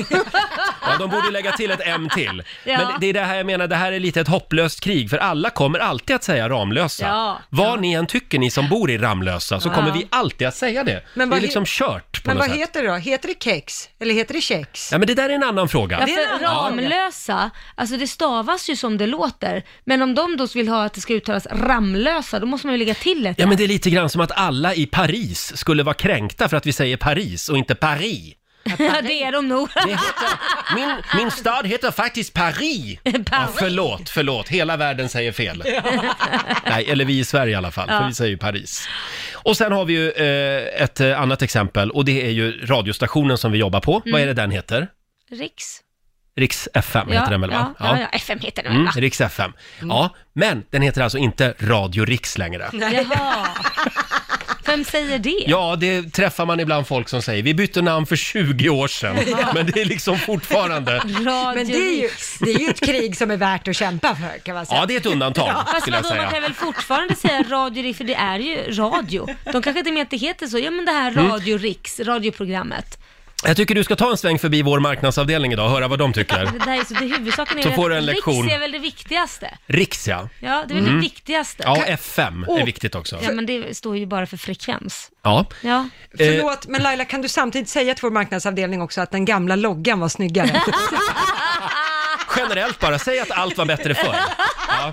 S1: Ja, de borde ju lägga till ett M till.
S3: Ja.
S1: Men det är det här jag menar, det här är lite ett hopplöst krig för alla kommer alltid att säga Ramlösa.
S2: Ja.
S1: Vad ni än tycker, ni som bor i Ramlösa, så
S2: Ja.
S1: kommer vi alltid att säga det.
S2: Men
S1: det är
S2: vad he-
S1: liksom kört på
S2: Men
S1: något
S2: vad
S1: sätt.
S2: heter det då? Heter det kex? Eller heter det kex?
S1: Ja, men det där är en annan fråga.
S3: Ja, för Ramlösa, alltså det stavas ju som det låter. Men om de då vill ha att det ska uttalas Ramlösa, då måste man ju lägga till ett.
S1: Ja, men det är lite grann som att alla i Paris skulle vara kränkta för att vi säger Paris och inte Paris.
S3: Ja, det är de nog.
S1: Min, min stad heter faktiskt Ah. Paris. Ja, förlåt, förlåt. Hela världen säger fel. Nej, eller vi i Sverige i alla fall,
S7: Ja.
S1: för vi säger ju Paris. Och sen har vi ju eh, ett eh, annat exempel och det är ju radiostationen som vi jobbar på. Vad är det den heter?
S3: Riks.
S1: Riks FM heter den väl va?
S3: Mm. Ja, ja, Mm. ja, FM heter den väl
S1: Mm,
S3: va?
S1: Riks FM. Ja, men den heter alltså inte Radio Riks längre.
S3: Jaha. Vem säger det?
S1: Ja, det träffar man ibland folk som säger. Vi bytte namn för 20 år sedan,
S2: Ja.
S1: men det är liksom fortfarande...
S2: Men det är, ju, det är ju ett krig som är värt att kämpa för kan man säga.
S1: Ja, det är ett undantag,
S3: Fast
S1: skulle jag
S3: vadå, man kan
S1: säga.
S3: väl fortfarande säga Radio Riks, för det är ju radio. De kanske inte menar att det heter så. Ja, men det här
S1: Mm.
S3: Radio Riks, radioprogrammet.
S1: Jag tycker du ska ta en sväng förbi vår marknadsavdelning idag och höra vad de tycker.
S3: Det där är så, det huvudsaken är
S1: Så
S3: ju
S1: får du
S3: att
S1: en lektion.
S3: Riks är väl det viktigaste.
S1: Riks, ja.
S3: Ja, det är väl
S1: Mm.
S3: det viktigaste.
S1: Ja, FM är viktigt också.
S3: Ja, men det står ju bara för frekvens.
S1: Ja.
S3: Ja.
S2: Förlåt, men Laila, kan du samtidigt säga till vår marknadsavdelning också att den gamla loggan var snyggare?
S1: Generellt bara, säg att allt var bättre förr. Ja.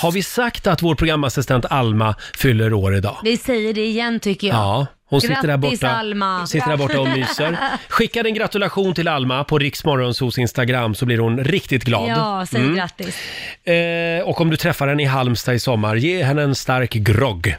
S1: Har vi sagt att vår programassistent Alma fyller år idag?
S3: Vi säger det igen tycker jag.
S1: Ja, hon sitter där
S3: Grattis,
S1: borta,
S3: Alma.
S1: sitter där borta och myser. Skicka en gratulation till Alma på Riksmorgonsos Instagram så blir hon riktigt glad.
S3: Ja, säg
S1: Mm.
S3: grattis.
S1: Eh, och om du träffar henne i Halmstad i sommar, ge henne en stark grogg.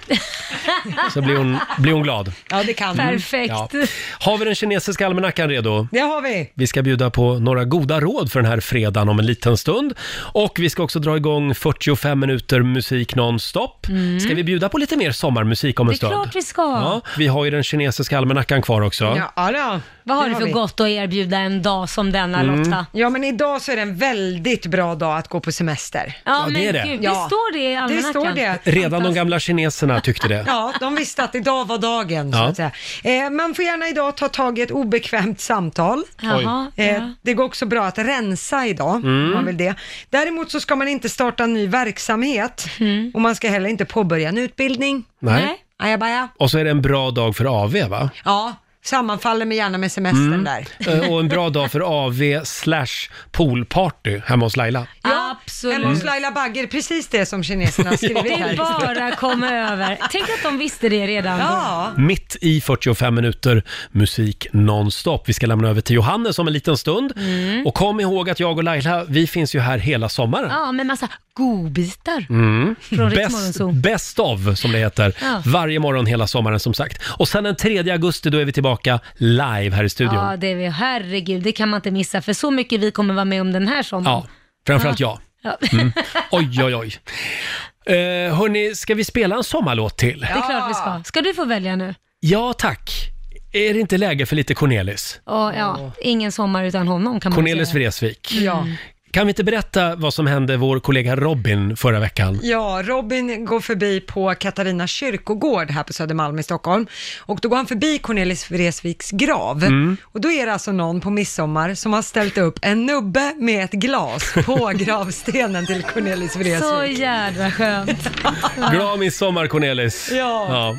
S1: Så blir hon, blir hon glad.
S2: Ja, det kan
S1: Mm, ja. Har vi den kinesiska almanackan redo?
S2: Det har vi.
S1: Vi ska bjuda på några goda råd för den här fredagen om en liten stund. Och vi ska också dra igång 45 minuter musik nonstop.
S3: Mm.
S1: Ska vi bjuda på lite mer sommarmusik om en
S3: Det är
S1: stund?
S3: klart vi ska.
S1: Ja, vi har ju den kinesiska almanackan kvar också.
S2: då.
S3: Vad har
S2: Det
S3: du
S2: har
S3: för
S2: vi.
S3: gott att erbjuda en dag som denna
S1: Mm.
S3: Lotta?
S2: Ja, men idag så är det en väldigt bra dag att gå på semester.
S3: Ja, men det är det. gud, det står det i
S2: Det
S3: almanackan.
S2: står det.
S1: Redan de gamla kineserna tyckte det.
S2: Ja, de visste att idag var dagen. Så
S1: Ja.
S2: att säga. Eh, man får gärna idag ta tag i ett obekvämt samtal.
S1: Jaha,
S2: eh,
S1: ja.
S2: det går också bra att rensa idag,
S1: Mm.
S2: om man vill det. Däremot så ska man inte starta en ny verksamhet
S3: Mm.
S2: och man ska heller inte påbörja en utbildning.
S1: Nej. Nej.
S2: Ajabaja.
S1: Och så är det en bra dag för AV va?
S2: Ja, sammanfaller med gärna med semestern där.
S1: Eh, Och en bra dag för AV slash poolparty hemma hos Laila.
S2: Ja,
S3: Absolut.
S2: Hemma hos Laila Bagger, precis det som kineserna har skrivit
S3: Det är
S2: här.
S3: bara att komma över. Tänk att de visste det redan
S2: Ja.
S1: Mitt i 45 minuter musik nonstop. Vi ska lämna över till Johannes om en liten stund.
S3: Mm.
S1: Och kom ihåg att jag och Laila, vi finns ju här hela sommaren.
S3: Ja, med massa godbitar.
S1: Mm.
S3: Från Rix
S1: Best,
S3: Morgonzoo.
S1: best of, som det heter.
S3: Ja.
S1: Varje morgon hela sommaren, som sagt. Och sen den 3 augusti, då är vi tillbaka live här i studion.
S3: Ja, det är vi. Herregud, det kan man inte missa. För så mycket vi kommer vara med om den här sommaren.
S1: Ja, framförallt
S3: Ja.
S1: jag. Mm. Oj, oj, oj. Eh, hörni, ska vi spela en sommarlåt till?
S3: Det är klart vi ska. Ska du få välja nu?
S1: Ja, tack. Är det inte läge för lite Cornelis?
S3: Ja, ja, ingen sommar utan honom kan man
S1: Cornelis
S3: säga. Mm.
S1: Vreeswijk.
S3: Ja.
S1: Kan vi inte berätta vad som hände vår kollega Robin förra veckan?
S2: Ja, Robin går förbi på Katarina kyrkogård här på Södermalm i Stockholm och då går han förbi Cornelis Vreeswijks grav
S7: Mm.
S2: och då är det alltså någon på midsommar som har ställt upp en nubbe med ett glas på gravstenen till Cornelis
S3: Så
S2: Vreeswijk.
S3: jädra skönt.
S1: Glad midsommar Cornelis!
S2: Ja.
S1: Ja.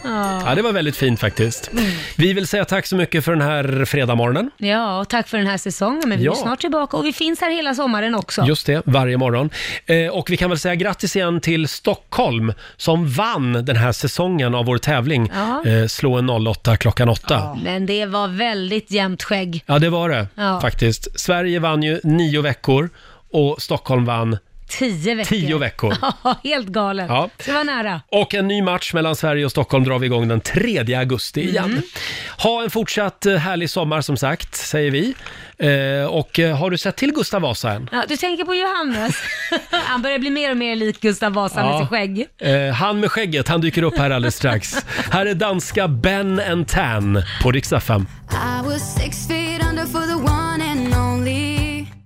S1: ja, det var väldigt fint faktiskt. Vi vill säga tack så mycket för den här fredagmorgonen.
S3: Ja, och tack för den här säsongen. Men vi
S1: Ja.
S3: är snart tillbaka och vi finns här hela sommaren också.
S1: Just det, varje morgon. Eh, och vi kan väl säga grattis igen till Stockholm som vann den här säsongen av vår tävling
S3: Ja.
S1: eh, Slå en 08 klockan 8. Ja.
S3: Men det var väldigt jämnt skägg.
S1: det var det
S3: Ja.
S1: faktiskt. Sverige vann ju nio veckor och Stockholm vann
S3: Tio veckor.
S1: Tio veckor.
S3: Ja, helt galet.
S1: Ja.
S3: Det var nära.
S1: och en ny match mellan Sverige och Stockholm drar vi igång den 3 augusti
S3: Mm.
S1: igen. Ha en fortsatt eh, härlig sommar som sagt, säger vi. Eh, och eh, har du sett till Gustav Vasa än?
S3: Ja, du tänker på Johannes. Han börjar bli mer och mer lik Gustav Vasa med
S1: Ja.
S3: sitt skägg.
S1: Eh, han med skägget, han dyker upp här alldeles strax. här är danska Ben and Tan på Rix FM.
S15: I was six feet under for the one and